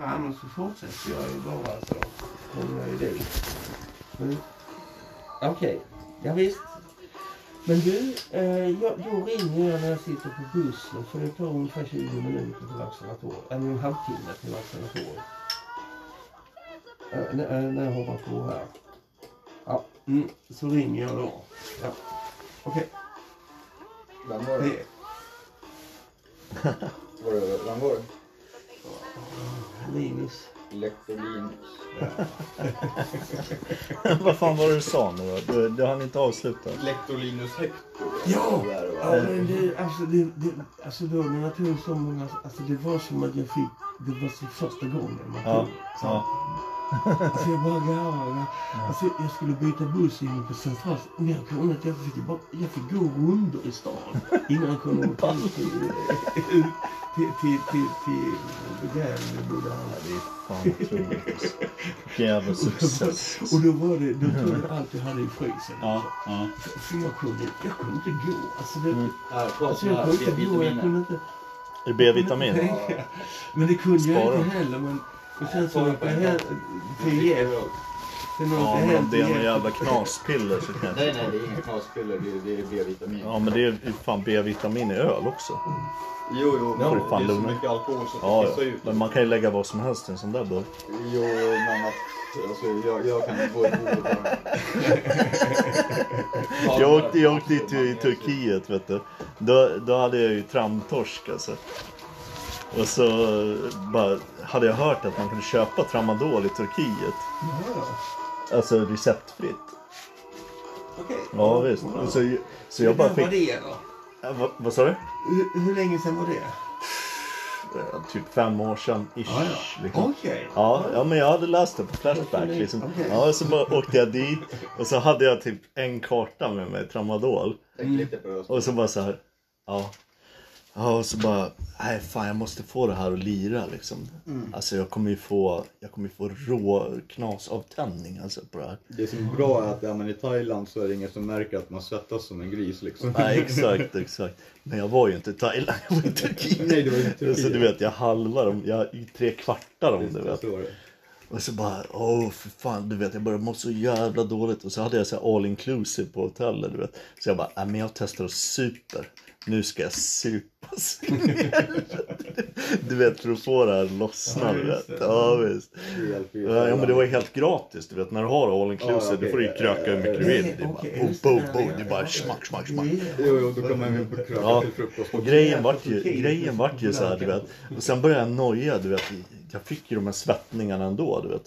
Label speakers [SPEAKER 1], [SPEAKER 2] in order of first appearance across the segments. [SPEAKER 1] Ja, men så fortsätter jag ju bara så kommer jag ju dit. Mm. Okej, ja, visst. Men du, eh, jag, då ringer jag när jag sitter på bussen för det tar ungefär 20 minuter till vaccinatoriet. Eller en halvtimme till vaccinatoriet. Eh, när, eh, när jag hoppar på här. Ja, mm, så ringer jag då. Ja. Okej,
[SPEAKER 2] Vem var
[SPEAKER 1] hej.
[SPEAKER 2] det? Var det, vem var det?
[SPEAKER 1] Linus.
[SPEAKER 2] Lektolinus.
[SPEAKER 3] Vad fan var det du sa nu då? Du, du hann inte avsluta.
[SPEAKER 2] Lektolinus Hector.
[SPEAKER 1] Ja!
[SPEAKER 2] Det där
[SPEAKER 1] Ja,
[SPEAKER 2] var-
[SPEAKER 1] men det, alltså, det, det, alltså då när jag tog så många, alltså det var som att jag fick, det var som första gången man
[SPEAKER 3] Ja,
[SPEAKER 1] tog. så.
[SPEAKER 3] ja.
[SPEAKER 1] Alltså jag bara garvade. Alltså jag skulle byta buss in på Central, men jag kunde inte, jag fick, bara, jag fick gå runder i stan innan jag kunde åka ut till, till, till, till, till, till där vi bodde alla.
[SPEAKER 3] Det är fan otroligt alltså. Vilken jävla success.
[SPEAKER 1] Och då var det, då tog jag allt jag hade i frysen.
[SPEAKER 3] Ja, ja.
[SPEAKER 1] För för jag kunde, jag kunde inte gå. Alltså det,
[SPEAKER 3] Mm.
[SPEAKER 2] Här, kolla
[SPEAKER 1] alltså
[SPEAKER 2] såna
[SPEAKER 1] jag
[SPEAKER 2] här
[SPEAKER 1] kunde inte gå, jag
[SPEAKER 2] C-vitaminer.
[SPEAKER 1] kunde inte.
[SPEAKER 3] Är det B-vitamin?
[SPEAKER 1] Ja. Men det kunde
[SPEAKER 3] Spara
[SPEAKER 1] jag
[SPEAKER 3] dem.
[SPEAKER 1] inte heller. Men och sen så
[SPEAKER 2] Spara
[SPEAKER 1] åkte jag
[SPEAKER 2] pengar.
[SPEAKER 1] hem till Jeff. Sen åkte jag
[SPEAKER 3] Ja, men
[SPEAKER 1] hem
[SPEAKER 3] om
[SPEAKER 1] till
[SPEAKER 3] det är några
[SPEAKER 1] Jeff.
[SPEAKER 3] jävla knaspiller så kanske.
[SPEAKER 2] Nej, nej, det är inga knaspiller. Det är, det är B-vitamin.
[SPEAKER 3] Ja, men det är ju fan B-vitamin i öl också.
[SPEAKER 2] Jo, jo, men
[SPEAKER 3] Ja,
[SPEAKER 2] det
[SPEAKER 3] fan
[SPEAKER 2] är så
[SPEAKER 3] lugna.
[SPEAKER 2] mycket alkohol så att
[SPEAKER 3] Ja,
[SPEAKER 2] det kissar
[SPEAKER 3] ja.
[SPEAKER 2] ut.
[SPEAKER 3] Men man kan ju lägga vad som helst i en sån där burk.
[SPEAKER 2] Jo, men att... Alltså, jag, jag kan inte gå i bordet där.
[SPEAKER 3] Jag åkte, jag åkte dit i Turkiet vet du. Då, då hade jag ju tramtorsk alltså. Och så eh, bara, hade jag hört att man kunde köpa tramadol i Turkiet.
[SPEAKER 1] Ja,
[SPEAKER 3] Alltså receptfritt.
[SPEAKER 1] okej.
[SPEAKER 3] Ja visst. Och så, så jag
[SPEAKER 1] Hur
[SPEAKER 3] bara
[SPEAKER 1] länge var
[SPEAKER 3] fick...
[SPEAKER 1] det då?
[SPEAKER 3] Eh, Vad, vad sa du?
[SPEAKER 1] Hur, hur länge sedan var det?
[SPEAKER 3] Eh, Typ fem år sedan ish. Liksom.
[SPEAKER 1] Okej.
[SPEAKER 3] Ja, ja, men jag hade läst det på Flashback. Liksom.
[SPEAKER 1] Okej.
[SPEAKER 3] Ja, så bara åkte jag dit och så hade jag typ en karta med mig, tramadol.
[SPEAKER 2] Tänk lite på det.
[SPEAKER 3] Och så bara så här, ja. Ja, och så bara, nej fan jag måste få det här att lira liksom.
[SPEAKER 1] Mm.
[SPEAKER 3] Alltså jag kommer ju få, jag kommer ju få rå knasavtändning alltså på det här.
[SPEAKER 2] Det som är bra är att ja, men i Thailand så är det ingen som märker att man svettas som en gris liksom.
[SPEAKER 3] Nej exakt, exakt. Men jag var ju inte i Thailand, jag var i Turkiet.
[SPEAKER 2] Nej, det var inte
[SPEAKER 3] Så du vet, jag halvar dem, jag i tre kvartar om det vet.
[SPEAKER 2] Så var det. alltså.
[SPEAKER 3] Och så bara, åh för fan, du vet jag började må så jävla dåligt. Och så hade jag så här all inclusive på hotellet, du vet. Så jag bara, nej men jag testar och super. Nu ska jag supa så in i helvete. Du vet, för att få det här att lossna,
[SPEAKER 1] Ja,
[SPEAKER 3] du
[SPEAKER 1] just
[SPEAKER 3] vet.
[SPEAKER 1] det.
[SPEAKER 3] Ja, visst.
[SPEAKER 2] Det hjälper ju.
[SPEAKER 3] Ja, men det var ju helt gratis, du vet. När du har all inclusive,
[SPEAKER 2] Ja, okej.
[SPEAKER 3] du får ju kröka hur mycket du vill. Det är bara,
[SPEAKER 1] okej,
[SPEAKER 3] bo,
[SPEAKER 1] just det.
[SPEAKER 3] bo,
[SPEAKER 1] Ja,
[SPEAKER 3] bo.
[SPEAKER 1] ja,
[SPEAKER 3] Det är
[SPEAKER 1] ja,
[SPEAKER 3] bara
[SPEAKER 1] ja.
[SPEAKER 3] smack, smack, smack.
[SPEAKER 2] Jo, jo, då kommer man in på kröka
[SPEAKER 3] Ja.
[SPEAKER 2] till frukost.
[SPEAKER 3] Och grejen vart ju, grejen vart ju så här, du vet. Och sen började jag noja, du vet. Jag fick ju de här svettningarna ändå, du vet.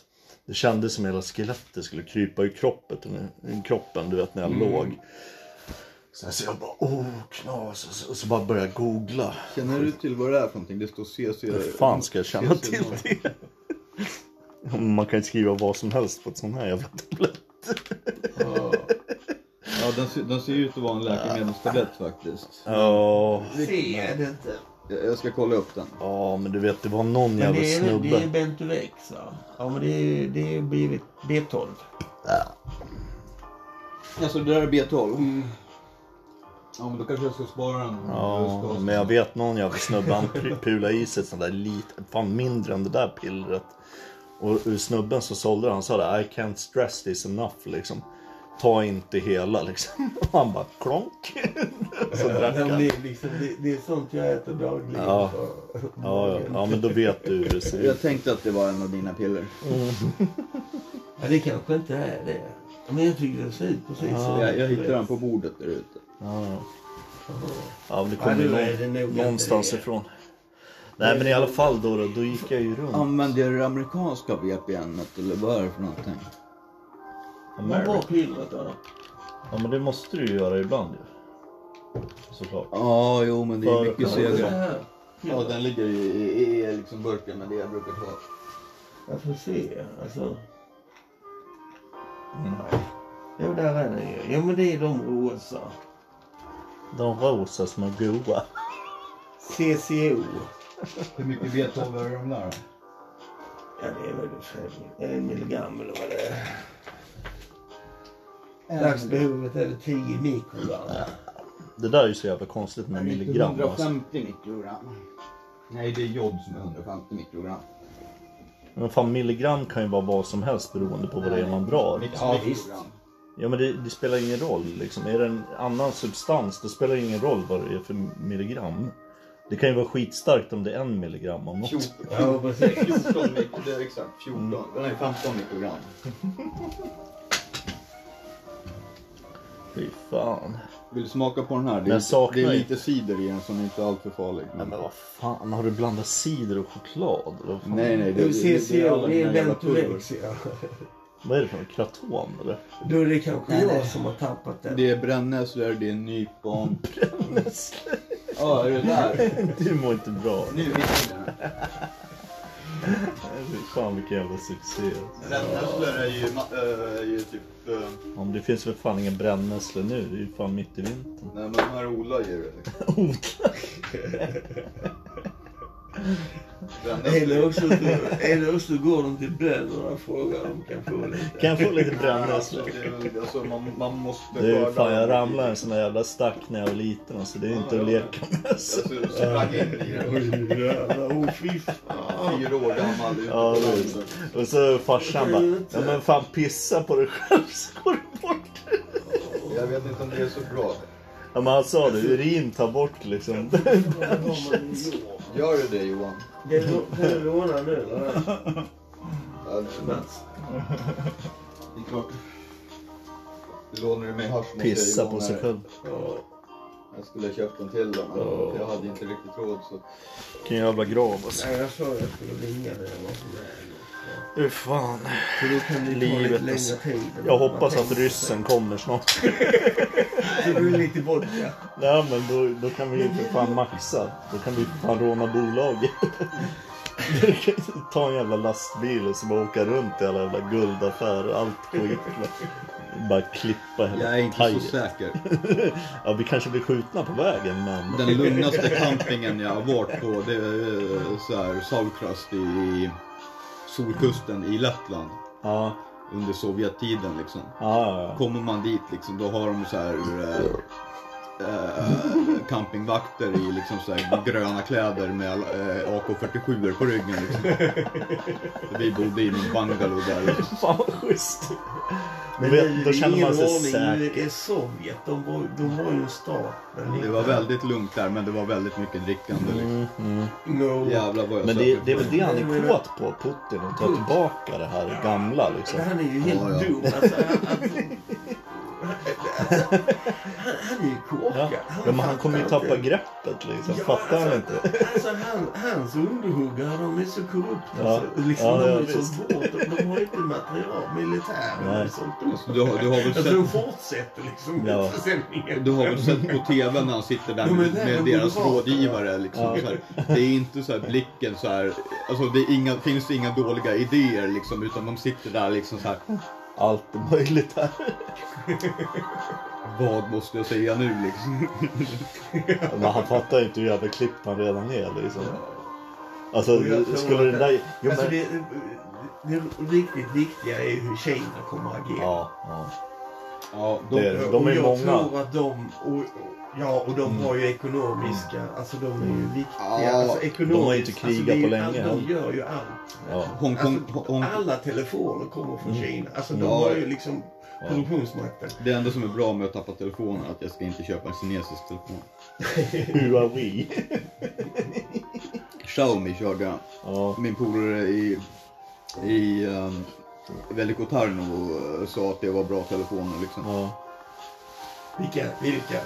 [SPEAKER 3] Det kändes som hela skelettet skulle krypa i kroppet, i kroppen, du vet, när jag låg. Sen så jag bara, åh, knas. Och så, och så bara började jag googla.
[SPEAKER 2] Känner du till vad det är för någonting? Det står CC...
[SPEAKER 3] Hur fan ska jag känna
[SPEAKER 2] CC
[SPEAKER 3] till det? Man kan ju skriva vad som helst på ett sån här jävla tablett.
[SPEAKER 2] Ja, ja den, ser, den ser ju ut att vara en läkemedelstablett faktiskt.
[SPEAKER 3] Ja,
[SPEAKER 1] Se är det inte.
[SPEAKER 2] Jag, jag ska kolla upp den.
[SPEAKER 3] ja, men du vet, det var någon
[SPEAKER 1] Men
[SPEAKER 3] jävla
[SPEAKER 1] det är, det är
[SPEAKER 3] snubbe.
[SPEAKER 1] Bentovex. Ja. ja, men det är, det är blivit B12.
[SPEAKER 2] Alltså det där är B12. Ja men då kanske jag ska spara den.
[SPEAKER 3] Ja, men jag vet någon jävla snubbe, han pr- pulade i sig ett sånt där litet, fan mindre än det där pillret. Och ur snubben som sålde det, han sa det, I can't stress this enough liksom. Ta inte hela liksom. Och han bara klonk. Så drack
[SPEAKER 1] Ja, men
[SPEAKER 3] han.
[SPEAKER 1] Det, är liksom, det, det är sånt jag äter dagligen.
[SPEAKER 3] Ja.
[SPEAKER 1] Så-
[SPEAKER 3] Ja, ja, ja, men då vet du hur det ser ut.
[SPEAKER 2] Jag tänkte att det var en av dina piller.
[SPEAKER 1] Ja, det kanske inte är det. Men jag tycker det ser ut precis så.
[SPEAKER 2] Jag, jag hittade den på bordet där ute.
[SPEAKER 3] Ja, ja. ja men det
[SPEAKER 1] Ja,
[SPEAKER 3] kommer
[SPEAKER 1] nu
[SPEAKER 3] ju
[SPEAKER 1] är det nog
[SPEAKER 3] någon,
[SPEAKER 1] inte
[SPEAKER 3] någonstans
[SPEAKER 1] det.
[SPEAKER 3] ifrån. Nej men i alla fall då, då, då gick jag ju runt.
[SPEAKER 2] Använde jag det amerikanska VPN et, eller vad är det för någonting?
[SPEAKER 1] Vad var
[SPEAKER 3] America.
[SPEAKER 1] pillret då?
[SPEAKER 3] Ja men det måste du ju göra ibland ju. Såklart.
[SPEAKER 2] Ja, jo men det är
[SPEAKER 3] För-
[SPEAKER 2] mycket
[SPEAKER 3] Ja,
[SPEAKER 1] Det
[SPEAKER 2] segare.
[SPEAKER 1] här.
[SPEAKER 2] Ja, den ligger i, i, i liksom burken med det jag brukar ta.
[SPEAKER 1] Jag får se. Alltså.
[SPEAKER 2] Mm.
[SPEAKER 1] Nej. Jo, där är den ju. Ja, men det är de rosa.
[SPEAKER 3] De rosa som är goa.
[SPEAKER 1] CCO.
[SPEAKER 2] Hur mycket B12 är det de där då?
[SPEAKER 1] Ja, det är väl fem- en milligram eller vad det är.
[SPEAKER 2] Eh,
[SPEAKER 1] Dagsbehovet är det 10 mikrogram.
[SPEAKER 3] Det där är ju så jävla konstigt med milligram. Alltså.
[SPEAKER 2] 150 mikrogram. Nej, det är jod som är 150 mikrogram.
[SPEAKER 3] Men fan milligram kan ju vara vad som helst beroende på vad det är man drar.
[SPEAKER 1] Ja, visst.
[SPEAKER 3] Ja men det, det spelar ingen roll liksom. Är det en annan substans då spelar det ingen roll vad det är för milligram. Det kan ju vara skitstarkt om det är en milligram om något.
[SPEAKER 4] 14,
[SPEAKER 1] Ja, precis.
[SPEAKER 4] 14 mikro, det är exakt 14,
[SPEAKER 3] Mm.
[SPEAKER 4] nej 15 mikrogram.
[SPEAKER 3] Fy fan.
[SPEAKER 2] Vill du smaka på den här? Det
[SPEAKER 3] Men
[SPEAKER 2] är,
[SPEAKER 3] jag saknar
[SPEAKER 2] det är
[SPEAKER 3] ju-
[SPEAKER 2] lite cider i den som inte är alltför farlig.
[SPEAKER 3] Nej men vad fan, har du blandat cider och choklad? Vad, fan?
[SPEAKER 2] Nej, nej. Det,
[SPEAKER 1] UCCO, det är
[SPEAKER 2] alla jävla pulver.
[SPEAKER 1] Venturex. ja.
[SPEAKER 3] vad är det för något? Kraton eller?
[SPEAKER 1] Då är det kanske jag som har tappat den.
[SPEAKER 2] Det är brännässlor, det är nypon.
[SPEAKER 4] Ja, är det där?
[SPEAKER 3] du mår inte bra.
[SPEAKER 4] Nu fick vi den.
[SPEAKER 3] Nej, Fy fan vilken jävla succé.
[SPEAKER 4] Brännässlor är ju, ma- eh, är ju typ, eh,
[SPEAKER 3] Ja, men det finns väl fan ingen brännässlor nu, det är ju fan mitt i vintern.
[SPEAKER 4] nej men de här odlar ju.
[SPEAKER 2] liksom.
[SPEAKER 3] Odla!
[SPEAKER 1] Eller
[SPEAKER 4] Brännässlor.
[SPEAKER 1] också, eller också går de till bönderna och frågar om de kan få lite.
[SPEAKER 3] Kan jag få lite
[SPEAKER 4] Alltså,
[SPEAKER 3] brännässlor?
[SPEAKER 4] det är väl- alltså, man, man måste Alltså,
[SPEAKER 3] Du, fan jag
[SPEAKER 4] dem.
[SPEAKER 3] ramlade en sån där jävla stack när jag var liten alltså, det är ju inte
[SPEAKER 4] Ja,
[SPEAKER 3] att
[SPEAKER 4] ja.
[SPEAKER 3] leka med. Alltså.
[SPEAKER 4] Alltså, sprang in i den.
[SPEAKER 1] Åh, oh, fy fan.
[SPEAKER 4] Fyra år gammal ute
[SPEAKER 3] Ja,
[SPEAKER 4] på
[SPEAKER 3] det är det.
[SPEAKER 4] landet.
[SPEAKER 3] Och så farsan bara, ja men fan pissa på dig själv så går det bort.
[SPEAKER 4] Jag vet inte om det är så bra.
[SPEAKER 3] Ja men han sa det, urin tar bort liksom.
[SPEAKER 4] Gör du det Johan?
[SPEAKER 1] Det är låna nu, eller?
[SPEAKER 4] Ja, Alltså, Det är klart. Lånar du mig hasch måste jag ju
[SPEAKER 3] Pissa på
[SPEAKER 4] låna
[SPEAKER 3] sig
[SPEAKER 4] det.
[SPEAKER 3] själv.
[SPEAKER 1] Ja.
[SPEAKER 4] Jag skulle ha köpt en till då, men
[SPEAKER 1] Ja.
[SPEAKER 4] jag hade inte riktigt råd så.
[SPEAKER 3] Vilken jävla grav alltså.
[SPEAKER 1] Nej, jag sa att jag skulle ringa när jag var på väg.
[SPEAKER 3] Fy fan.
[SPEAKER 1] Så då kan det ta lite
[SPEAKER 3] Livet,
[SPEAKER 1] längre
[SPEAKER 3] alltså.
[SPEAKER 1] tid. än
[SPEAKER 3] Jag
[SPEAKER 1] vad man
[SPEAKER 3] hoppas att
[SPEAKER 1] tänker sig.
[SPEAKER 3] ryssen kommer snart.
[SPEAKER 1] Så du är lite vodka.
[SPEAKER 3] Nej men då, då kan vi ju för fan maxa. Då kan vi fan råna bolaget. Du kan ju Ta en jävla lastbil och så bara åka runt i alla jävla guldaffärer, allt skit. Bara klippa hela
[SPEAKER 2] Jag är inte så
[SPEAKER 3] pajen.
[SPEAKER 2] säker.
[SPEAKER 3] Ja, vi kanske blir skjutna på vägen men...
[SPEAKER 2] Den lugnaste campingen jag har varit på det är eh, så här Saucrust i Solkusten i Lettland
[SPEAKER 3] Ja,
[SPEAKER 2] under Sovjettiden liksom.
[SPEAKER 3] ja, ja.
[SPEAKER 2] Kommer man dit liksom då har de så här eh, eh, campingvakter i liksom så här gröna kläder med eh, AK47 på ryggen liksom. Vi bodde i någon bungalow där. Liksom.
[SPEAKER 3] Fan vad schysst.
[SPEAKER 1] Men
[SPEAKER 3] vet,
[SPEAKER 1] nu är
[SPEAKER 3] då
[SPEAKER 1] det
[SPEAKER 3] känner man sig
[SPEAKER 1] ingen ordning.
[SPEAKER 3] säker.
[SPEAKER 1] Nu är Sovjet. De var, de var ju en stat.
[SPEAKER 2] Det var väldigt lugnt där men det var väldigt mycket drickande liksom.
[SPEAKER 3] Mm, mm.
[SPEAKER 1] No.
[SPEAKER 2] Jävlar vad jag
[SPEAKER 3] Men det,
[SPEAKER 2] söker
[SPEAKER 3] det är
[SPEAKER 2] på
[SPEAKER 3] väl det han är kåt på, Putin, att ta tillbaka det här gamla liksom.
[SPEAKER 1] Han är ju helt
[SPEAKER 2] Ja, ja.
[SPEAKER 1] dum. Alltså, han, alltså, han, han är ju
[SPEAKER 3] Ja.
[SPEAKER 1] korkad.
[SPEAKER 3] Ja, men han kommer ju
[SPEAKER 1] fattar
[SPEAKER 3] tappa
[SPEAKER 1] inte.
[SPEAKER 3] greppet liksom,
[SPEAKER 1] Ja,
[SPEAKER 3] fattar han
[SPEAKER 1] alltså,
[SPEAKER 3] inte?
[SPEAKER 1] Alltså, han, hans underhuggare, de är så korrupta.
[SPEAKER 3] Ja.
[SPEAKER 1] Alltså, liksom,
[SPEAKER 3] Ja,
[SPEAKER 1] de
[SPEAKER 3] ja,
[SPEAKER 1] är så
[SPEAKER 3] visst.
[SPEAKER 1] svårt. De, de har inte material, militären
[SPEAKER 3] Nej.
[SPEAKER 1] och sånt.
[SPEAKER 2] Du har, du har väl
[SPEAKER 1] Alltså,
[SPEAKER 2] sett
[SPEAKER 1] de fortsätter liksom
[SPEAKER 3] Ja.
[SPEAKER 1] försäljningen.
[SPEAKER 2] Du har väl sett på TV när han sitter där
[SPEAKER 1] Jo, men
[SPEAKER 2] med,
[SPEAKER 1] det är
[SPEAKER 2] med
[SPEAKER 1] en
[SPEAKER 2] deras
[SPEAKER 1] moderat.
[SPEAKER 2] rådgivare. Liksom,
[SPEAKER 3] Ja.
[SPEAKER 2] så här. Det är inte så här blicken så här. Alltså det är inga, finns inga dåliga idéer liksom. Utan de sitter där liksom så här.
[SPEAKER 3] Allt är möjligt här.
[SPEAKER 2] Vad måste jag säga nu liksom?
[SPEAKER 3] Men han fattar ju inte hur jävla klippt han redan är liksom. Alltså,
[SPEAKER 1] Och jag tror
[SPEAKER 3] skulle
[SPEAKER 1] att-
[SPEAKER 3] den där... Jo,
[SPEAKER 1] Alltså,
[SPEAKER 3] men...
[SPEAKER 1] det, det riktigt viktiga är ju hur Kina kommer att agera.
[SPEAKER 3] Ja, ja.
[SPEAKER 2] Ja, de,
[SPEAKER 3] Det är det. De
[SPEAKER 1] och
[SPEAKER 3] är
[SPEAKER 1] jag
[SPEAKER 3] många.
[SPEAKER 1] tror att de, och, och, ja och de har ju ekonomiska, alltså de är ju viktiga.
[SPEAKER 2] Ja,
[SPEAKER 1] alltså, ekonomiskt,
[SPEAKER 3] de har inte krigat
[SPEAKER 1] det är ju
[SPEAKER 3] på länge
[SPEAKER 1] all-
[SPEAKER 3] heller.
[SPEAKER 1] De gör ju allt.
[SPEAKER 3] ja.
[SPEAKER 2] Hongkong,
[SPEAKER 1] Alltså,
[SPEAKER 2] Hong,
[SPEAKER 1] alla telefoner kommer från Kina. Alltså de
[SPEAKER 2] Ja.
[SPEAKER 1] har ju liksom produktionsmakten.
[SPEAKER 2] det enda som är bra med att tappa telefonen är att jag ska inte köpa en kinesisk telefon.
[SPEAKER 3] Huawei.
[SPEAKER 2] Xiaomi körde jag.
[SPEAKER 3] Ja.
[SPEAKER 2] Min polare i, i um, Velikotarno eh, sa att det var bra telefoner liksom.
[SPEAKER 3] Ja.
[SPEAKER 1] Vilka? Vilka?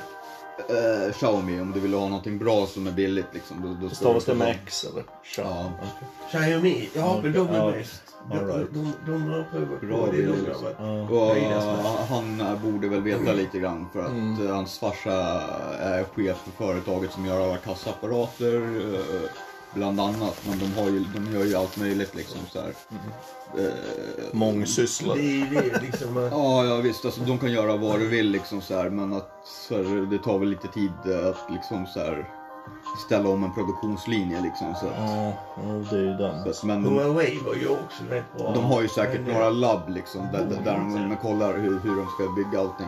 [SPEAKER 2] eh, Xiaomi om du vill ha någonting bra som är billigt. Liksom, då, då ska
[SPEAKER 3] Stavas
[SPEAKER 2] du-
[SPEAKER 3] det med X eller?
[SPEAKER 2] Ja.
[SPEAKER 3] Okej.
[SPEAKER 1] Xiaomi? Ja,
[SPEAKER 3] Okej,
[SPEAKER 1] men de är
[SPEAKER 3] ja.
[SPEAKER 1] bäst. De,
[SPEAKER 3] All right.
[SPEAKER 1] de, de har provat
[SPEAKER 2] Bra
[SPEAKER 1] på det.
[SPEAKER 2] bilder,
[SPEAKER 1] De har
[SPEAKER 2] liksom.
[SPEAKER 1] varit-
[SPEAKER 3] Ja.
[SPEAKER 2] Och,
[SPEAKER 1] Höjda
[SPEAKER 2] eh, han eh, borde väl veta lite grann för att eh, hans farsa är chef för företaget som gör alla kassaapparater. eh, Bland annat, men de, har ju, de gör ju allt möjligt liksom så här. Eh,
[SPEAKER 1] Det
[SPEAKER 3] Mångsysslare.
[SPEAKER 1] är ju det liksom. att-
[SPEAKER 2] Ja, ja visst, alltså, de kan göra vad du vill liksom så här, men att så här, det tar väl lite tid eh, att liksom så här ställa om en produktionslinje liksom. Så att,
[SPEAKER 3] Ja, jo, det är ju den.
[SPEAKER 2] så att, men de,
[SPEAKER 1] Huawei var ju också rätt bra.
[SPEAKER 2] De har ju säkert
[SPEAKER 1] Men, eh,
[SPEAKER 2] några labb liksom, där, där, där de, man kollar hur, hur de ska bygga allting.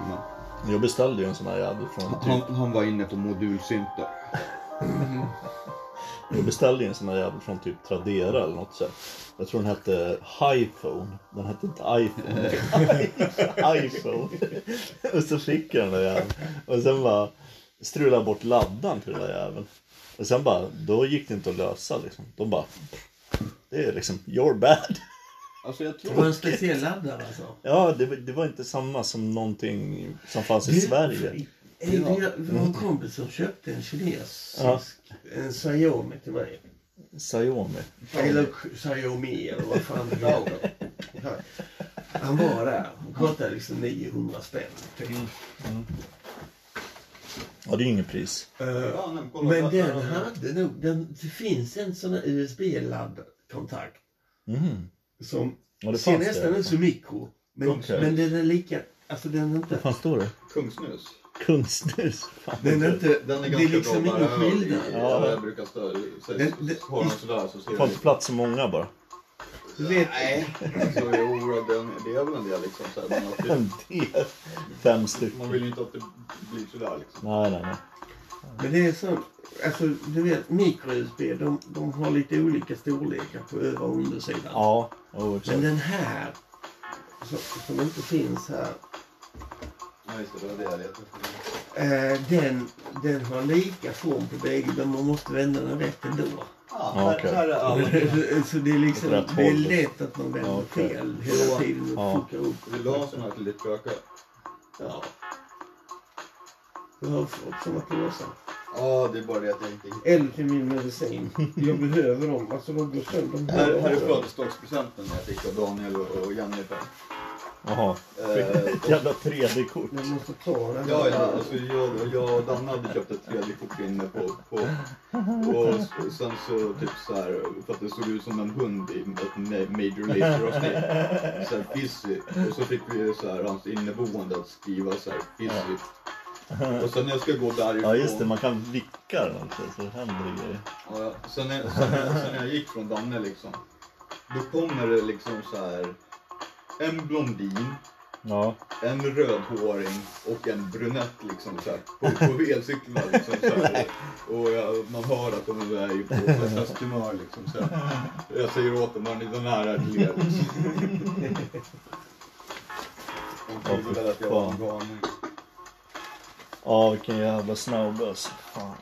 [SPEAKER 2] Men
[SPEAKER 3] Jag beställde ju en sån här jävel från typ
[SPEAKER 2] han, han var inne på modulsynter.
[SPEAKER 3] Jag beställde ju en sån här jävel från typ Tradera eller något sånt. Jag tror den hette Hiphone. Den hette inte iPhone. iPhone. Och så fick jag den där jäveln. Och sen bara strulade jag bort laddan till den där jäveln. Och sen bara, då gick det inte att lösa liksom. De bara, det är liksom your bad.
[SPEAKER 5] Alltså jag
[SPEAKER 1] Det var
[SPEAKER 5] tror...
[SPEAKER 1] en speciell laddare alltså.
[SPEAKER 3] Ja, det, var- det var inte samma som någonting som fanns i
[SPEAKER 1] Du,
[SPEAKER 3] Sverige.
[SPEAKER 1] eh, Vi har vi har en kompis som köpte en kinesisk,
[SPEAKER 3] Ja.
[SPEAKER 1] en Xiaomi till mig.
[SPEAKER 3] Xiaomi.
[SPEAKER 1] Eller Xiaomi eller vad fan det var. Han var där. Han kostade liksom 900 spänn. Typ.
[SPEAKER 2] Mm.
[SPEAKER 3] Ja, det är ju inget pris.
[SPEAKER 1] Eh,
[SPEAKER 2] Ja, men kolla,
[SPEAKER 1] Men
[SPEAKER 2] där-
[SPEAKER 1] den hade nog, den, det finns en sån här USB-laddkontakt
[SPEAKER 3] Mm.
[SPEAKER 1] som
[SPEAKER 3] Ja, det
[SPEAKER 1] ser
[SPEAKER 3] fanns
[SPEAKER 1] nästan
[SPEAKER 3] det.
[SPEAKER 1] ut som mikro. Men,
[SPEAKER 3] Okej.
[SPEAKER 1] men den är lika, alltså den är
[SPEAKER 3] Vad
[SPEAKER 1] inte,
[SPEAKER 3] fan står det?
[SPEAKER 2] Kungsnus.
[SPEAKER 3] Kungsnus. Fan.
[SPEAKER 1] den är inte,
[SPEAKER 2] Den är
[SPEAKER 1] det
[SPEAKER 2] ganska
[SPEAKER 1] är liksom
[SPEAKER 2] bra
[SPEAKER 1] ingen
[SPEAKER 2] bara öl i-
[SPEAKER 1] skillnad.
[SPEAKER 3] Ja.
[SPEAKER 2] Jag brukar stå
[SPEAKER 1] Den- den-
[SPEAKER 2] har någon sådär så ser
[SPEAKER 3] Det får inte
[SPEAKER 2] jag...
[SPEAKER 3] plats så många bara.
[SPEAKER 1] Du vet,
[SPEAKER 2] Nej, alltså jo, den, det är väl en del liksom. Så här, men att det-
[SPEAKER 3] En del. Fem stycken.
[SPEAKER 2] man vill ju inte att det blir sådär liksom.
[SPEAKER 3] Nej, nej, nej.
[SPEAKER 1] men det är så, alltså du vet mikro-USB, de, de har lite olika storlekar på över och undersidan.
[SPEAKER 3] Ja, jo,
[SPEAKER 1] Men
[SPEAKER 3] exakt.
[SPEAKER 1] den här, som, som inte finns här,
[SPEAKER 2] Ja, just det, det var det jag letade efter.
[SPEAKER 1] eh, den, den har lika form på bägge, men man måste vända den rätt ändå.
[SPEAKER 2] Ja,
[SPEAKER 3] Ja,
[SPEAKER 2] Ah, här-
[SPEAKER 3] okej.
[SPEAKER 2] här är alla.
[SPEAKER 1] Så det är liksom,
[SPEAKER 3] Åt rätt
[SPEAKER 1] det är
[SPEAKER 3] håll.
[SPEAKER 1] lätt att man vänder
[SPEAKER 3] Ja, okej.
[SPEAKER 1] fel hela tiden och
[SPEAKER 3] Ja.
[SPEAKER 1] fuckar upp.
[SPEAKER 2] Vill du ha en sån här till ditt spöke?
[SPEAKER 1] Ja. Jag har fått såna påsar.
[SPEAKER 2] Ja, det är bara det jag tänkte.
[SPEAKER 1] Eller till min medicin. Jag behöver dem. Alltså de går sönder. De
[SPEAKER 2] Här,
[SPEAKER 1] går
[SPEAKER 2] här är
[SPEAKER 1] sönder.
[SPEAKER 2] födelsedagspresenten jag fick av Daniel och, och Jennifer.
[SPEAKER 3] Jaha.
[SPEAKER 2] Eh,
[SPEAKER 3] Ett jävla 3D-kort.
[SPEAKER 1] Jag måste ta den.
[SPEAKER 2] Ja, ja, alltså jag, jag och Danne hade köpt ett 3D-kort inne på, på och s- sen så typ så här, för att det såg ut som en hund i ett ma- Major Lazer avsnitt. Så här fizzy. Och så fick vi så här hans inneboende att skriva så här fizzy. Och sen när jag ska gå därifrån.
[SPEAKER 3] Ja, just det. Man kan vicka den också, så det händer det grejer.
[SPEAKER 2] Ja, sen, när, sen, när, sen när jag gick från Danne liksom. Då kommer det liksom så här en blondin.
[SPEAKER 3] Ja.
[SPEAKER 2] en rödhåring och en brunett liksom så här, på, på elcyklarna. Liksom, så här, och och jag, man hör att de är ju på på festhumör liksom. Så här. Jag säger åt dem, hörni den här är till er. liksom. De trodde väl att jag var en galning.
[SPEAKER 3] Ja, vilken jävla snabbe alltså. Fan.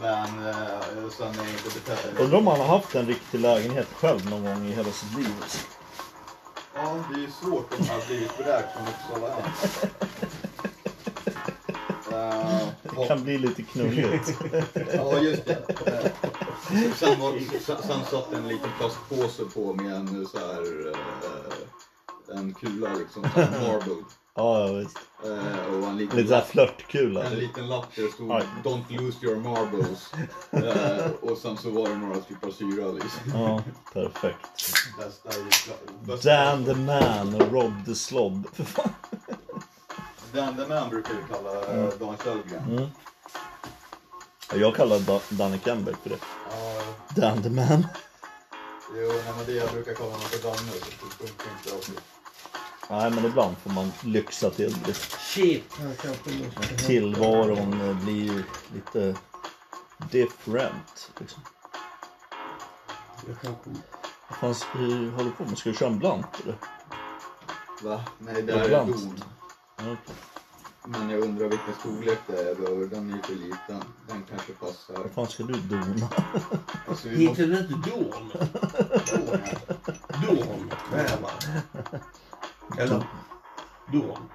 [SPEAKER 2] Men eh, sen är jag inte betedd.
[SPEAKER 3] Undrar om han har haft en riktig lägenhet själv någon gång i hela sitt liv. Alltså.
[SPEAKER 2] Ja, det är ju svårt att ha blivit vräkt från Uppsala än. Eh,
[SPEAKER 3] Det
[SPEAKER 2] och-
[SPEAKER 3] kan bli lite knulligt.
[SPEAKER 2] Ja, just det. Eh, Sen, var, sen, sen satt en liten plastpåse på med en så här, eh, en kula liksom, så här marble.
[SPEAKER 3] Ja, ja visst.
[SPEAKER 2] Eh, Och en liten,
[SPEAKER 3] Lite såhär flörtkula.
[SPEAKER 2] en liten lapp där det stod
[SPEAKER 3] Aj.
[SPEAKER 2] Don't lose your marbles. Eh, Och sen så var det några skopar syra liksom.
[SPEAKER 3] Ja, perfekt.
[SPEAKER 2] Bästa i kla- bästa-
[SPEAKER 3] Dan the man och Rob the slob. För fan.
[SPEAKER 2] Dan the man brukar vi kalla eh, Dan Källgren.
[SPEAKER 3] Mm. Jag kallar Da- Danne Kennberg för det.
[SPEAKER 2] Ja,
[SPEAKER 3] Dan the man.
[SPEAKER 2] jo, nej, men det jag brukar kalla honom för Danne. Så det funkar inte alltid.
[SPEAKER 3] Nej, men ibland får man lyxa till det.
[SPEAKER 1] Shit. Han kanske måste ha-
[SPEAKER 3] Tillvaron eh, blir ju lite different. Liksom.
[SPEAKER 1] Jag kanske...
[SPEAKER 3] Vad fan ska vi håller på med? Ska vi köra en blant eller?
[SPEAKER 2] Va? Nej, det här är
[SPEAKER 3] Ibland.
[SPEAKER 2] Don.
[SPEAKER 3] Ja, okej.
[SPEAKER 2] Men jag undrar vilken storlek det är jag behöver. Den är ju för liten. Den kanske passar.
[SPEAKER 3] Vad fan ska du dona?
[SPEAKER 2] Alltså vi måste
[SPEAKER 1] Heter den inte Dorn?
[SPEAKER 2] få den här.
[SPEAKER 1] Dorn. Där va? Eller? Dorn.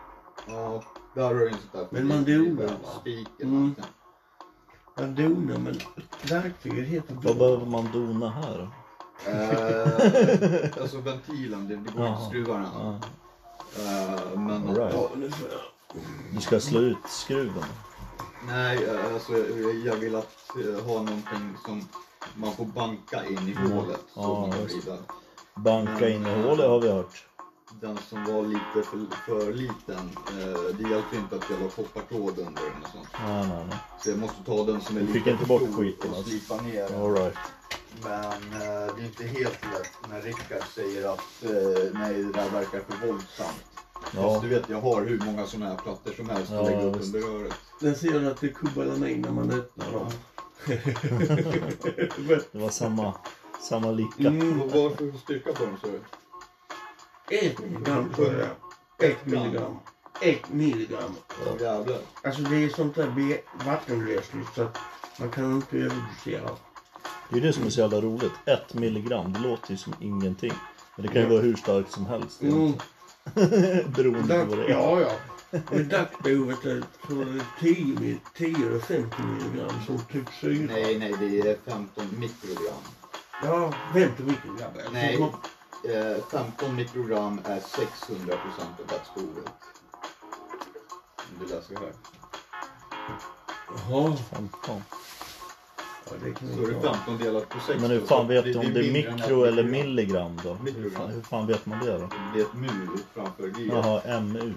[SPEAKER 2] Ja, där har du en sån där.
[SPEAKER 1] Men man donar,
[SPEAKER 2] en
[SPEAKER 1] va?
[SPEAKER 2] Spik
[SPEAKER 1] Mm.
[SPEAKER 2] eller nåt.
[SPEAKER 1] Han donar men verktyget heter
[SPEAKER 3] Vad
[SPEAKER 1] Dorn.
[SPEAKER 3] behöver man dona här då?
[SPEAKER 2] alltså. Eh, Alltså ventilen, det, det går inte att
[SPEAKER 3] Jaha.
[SPEAKER 2] skruva den.
[SPEAKER 3] Ja,
[SPEAKER 2] Eh, men
[SPEAKER 3] all right.
[SPEAKER 1] Ja, nu får jag...
[SPEAKER 3] Du ska slå ut skruven.
[SPEAKER 2] nej, eh, alltså jag- jag vill att eh, ha någonting som man får banka in i hålet. Så
[SPEAKER 3] Mm. Ja,
[SPEAKER 2] man kan
[SPEAKER 3] just
[SPEAKER 2] vrida.
[SPEAKER 3] Banka in i hålet har vi hört.
[SPEAKER 2] Den som var lite för, för liten, eh, det hjälpte inte att jag la koppartråd under den och sånt.
[SPEAKER 3] Nej, nej, nej.
[SPEAKER 2] Så jag måste ta den som är
[SPEAKER 3] Du fick
[SPEAKER 2] lite
[SPEAKER 3] inte
[SPEAKER 2] för
[SPEAKER 3] bort
[SPEAKER 2] stor
[SPEAKER 3] skiten,
[SPEAKER 2] och
[SPEAKER 3] alltså.
[SPEAKER 2] slipa ner den.
[SPEAKER 3] All right.
[SPEAKER 2] Men eh, det är inte helt lätt när Rickard säger att eh, nej, det där verkar för våldsamt. Fast
[SPEAKER 3] Ja.
[SPEAKER 2] du vet, jag har hur många sådana här plattor som helst att
[SPEAKER 3] Ja,
[SPEAKER 2] lägga upp
[SPEAKER 3] visst.
[SPEAKER 2] under röret.
[SPEAKER 1] Där ser du att det kubbar lamin när man öppnar dem.
[SPEAKER 3] Det var samma, samma lika.
[SPEAKER 2] Mm. Och vad för styrka på dem sa du?
[SPEAKER 1] 1 milligram tror jag det är. 1 milligram. 1 milligram.
[SPEAKER 2] Åh jävlar.
[SPEAKER 1] Alltså det är sånt där be- vattenlösligt så att man kan inte överdosera.
[SPEAKER 3] Det är det som är så jävla roligt. Ett milligram, det låter ju som ingenting. Men det kan ju vara hur starkt som helst.
[SPEAKER 1] Mm.
[SPEAKER 3] Beroende på vad det
[SPEAKER 1] Dack,
[SPEAKER 3] är.
[SPEAKER 1] ja, ja. Med dackbehovet är det 10 mil- 10 eller 50 milligram som typ syra.
[SPEAKER 2] Nej, nej, det är 15 mikrogram.
[SPEAKER 1] Ja, 50 mikrogram.
[SPEAKER 2] Nej.
[SPEAKER 1] Så-
[SPEAKER 2] Eh, 15 mikrogram är 600 procent av dagsbehovet. Om du läser här.
[SPEAKER 1] Jaha.
[SPEAKER 3] 15.
[SPEAKER 1] Ja, det kan
[SPEAKER 2] Så är det 15 delat på 6.
[SPEAKER 3] Men hur fan vet du om det är
[SPEAKER 2] mindre än ett
[SPEAKER 3] mikro eller
[SPEAKER 2] mikrogram.
[SPEAKER 3] milligram då? Hur
[SPEAKER 2] Mikrogram.
[SPEAKER 3] fan, hur fan vet man det då?
[SPEAKER 2] Det är ett mu framför G.
[SPEAKER 3] Jaha, MU.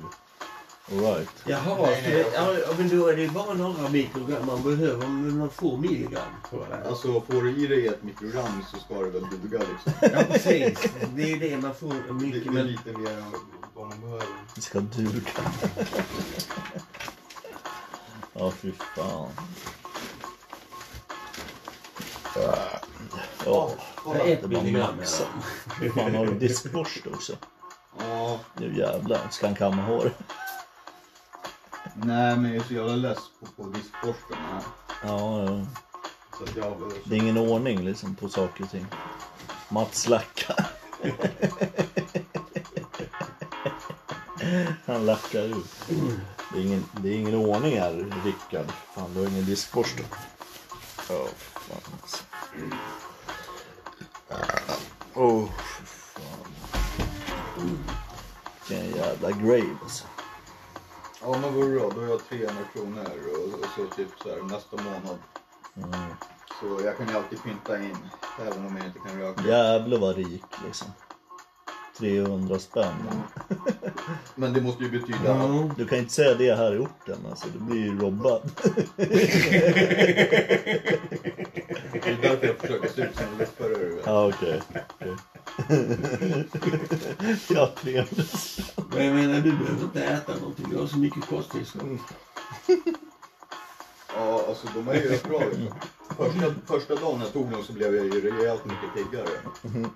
[SPEAKER 3] Alright.
[SPEAKER 1] Jaha,
[SPEAKER 2] Nej,
[SPEAKER 1] så
[SPEAKER 2] nej,
[SPEAKER 1] det, ja, ja, men då är det bara några mikrogram man behöver, men man får milligram tror jag. det är.
[SPEAKER 2] Alltså får du i dig ett mikrogram så ska det väl duga liksom.
[SPEAKER 1] Ja, precis. Det är det man får
[SPEAKER 2] Det,
[SPEAKER 1] mycket.
[SPEAKER 2] det är
[SPEAKER 1] Men
[SPEAKER 2] lite mer än vad man behöver.
[SPEAKER 3] Det ska duga. Ja, fy fan. Ja,
[SPEAKER 1] Ja, ett
[SPEAKER 3] det var
[SPEAKER 1] milligram.
[SPEAKER 3] maxat. fan har du diskborste också?
[SPEAKER 2] Ja,
[SPEAKER 3] Nu jävlar ska han kamma hår.
[SPEAKER 2] nej men jag är så jävla less på, på diskborsten här.
[SPEAKER 3] Ja, ja.
[SPEAKER 2] Så att jag vill...
[SPEAKER 3] Det är ingen ordning liksom på saker och ting. Mats lackar. Han lackar ut. Det är ingen, det är ingen ordning här, Rickard. Fan, du har ingen diskborste. Ja, fy fan alltså. Åh, fy fan. Vilken jävla grave alltså.
[SPEAKER 2] Ja men vad bra, då har jag 300 kronor och, och så typ så här nästa månad.
[SPEAKER 3] Mm.
[SPEAKER 2] Så jag kan ju alltid pynta in. Även om jag inte kan röka.
[SPEAKER 3] Jävlar vad rik liksom. 300 spänn.
[SPEAKER 2] Men det måste ju betyda att
[SPEAKER 1] ja.
[SPEAKER 3] Du kan inte säga det här i orten alltså, du blir ju robbad.
[SPEAKER 2] det är därför jag försöker se ut som en läppare. du vet.
[SPEAKER 3] Ja okej. okej. ja, 300
[SPEAKER 1] Men jag menar, du behöver inte äta någonting. Du har så mycket kosttillskott.
[SPEAKER 2] Ja, alltså de är ju rätt bra.
[SPEAKER 3] Mm.
[SPEAKER 2] liksom. Första, första dagen jag tog dem så blev jag ju rejält mycket piggare.
[SPEAKER 3] Mm-hmm.
[SPEAKER 2] Mm.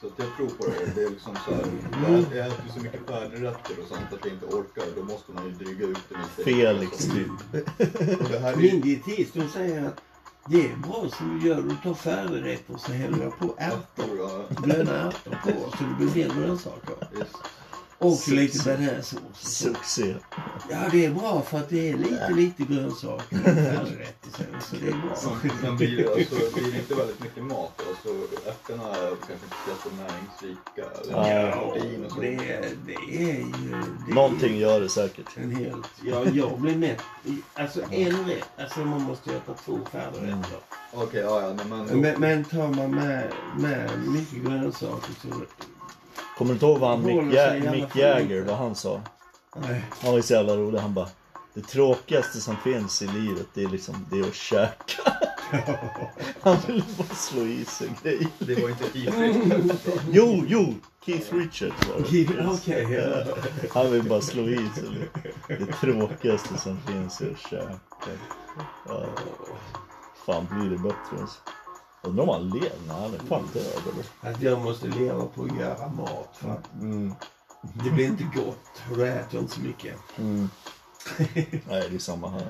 [SPEAKER 2] Så att jag tror på det. Det är liksom så här, jag äter- jag äter så mycket färdigrätter och sånt att jag inte orkar. Då måste man ju dryga ut det lite.
[SPEAKER 3] Felix typ.
[SPEAKER 1] Mm.
[SPEAKER 2] Och det här är
[SPEAKER 1] Min
[SPEAKER 2] ju...
[SPEAKER 1] dietist hon säger att det är bra som du gör. Du tar färdigrätter så häller jag på ärtor.
[SPEAKER 2] Ja,
[SPEAKER 1] Gröna ärtor på så det blir fler grönsaker.
[SPEAKER 2] visst.
[SPEAKER 1] Och lite bearnaisesås.
[SPEAKER 3] Succé.
[SPEAKER 1] Ja, det är bra för att det är lite, lite grönsaker och färdigrätter sen. Så det är bra.
[SPEAKER 2] Sen blir det, alltså, det blir inte väldigt mycket mat. Alltså, ärtorna är kanske inte så näringsrika. Eller
[SPEAKER 3] Ja,
[SPEAKER 1] Ja,
[SPEAKER 2] protein och så.
[SPEAKER 1] det, är- det är ju... Det är
[SPEAKER 3] Någonting gör det säkert.
[SPEAKER 1] En helt... Ja, jag blir mätt. Alltså en rätt. Alltså man måste ju äta två färdigrätter.
[SPEAKER 2] Okej, ja, ja. nej,
[SPEAKER 3] Mm.
[SPEAKER 2] Men,
[SPEAKER 1] Men, men tar man med, med mycket grönsaker så...
[SPEAKER 3] Kommer du inte ihåg vad han,
[SPEAKER 1] Håller
[SPEAKER 3] Mick,
[SPEAKER 1] sig i
[SPEAKER 3] Jä-
[SPEAKER 1] alla
[SPEAKER 3] Mick
[SPEAKER 1] fall
[SPEAKER 3] Jagger,
[SPEAKER 1] lite.
[SPEAKER 3] vad han sa?
[SPEAKER 1] Nej.
[SPEAKER 3] Han var ju så jävla rolig. Han bara, det tråkigaste som finns i livet det är liksom det att käka. Han ville bara slå i sig grejer.
[SPEAKER 2] det var inte tidsfritt.
[SPEAKER 3] Jo, jo! Keith Richards var det.
[SPEAKER 1] Okej. ja.
[SPEAKER 3] Han vill bara slå i sig det, det tråkigaste som finns i att käka. Ja. Fan blir det bättre ens? Undrar om han lever? Nej, han är fan död eller?
[SPEAKER 1] Att jag måste leva på att göra mat. För att det blir inte gott. Och då äter jag inte så mycket.
[SPEAKER 3] Nej, det är samma här.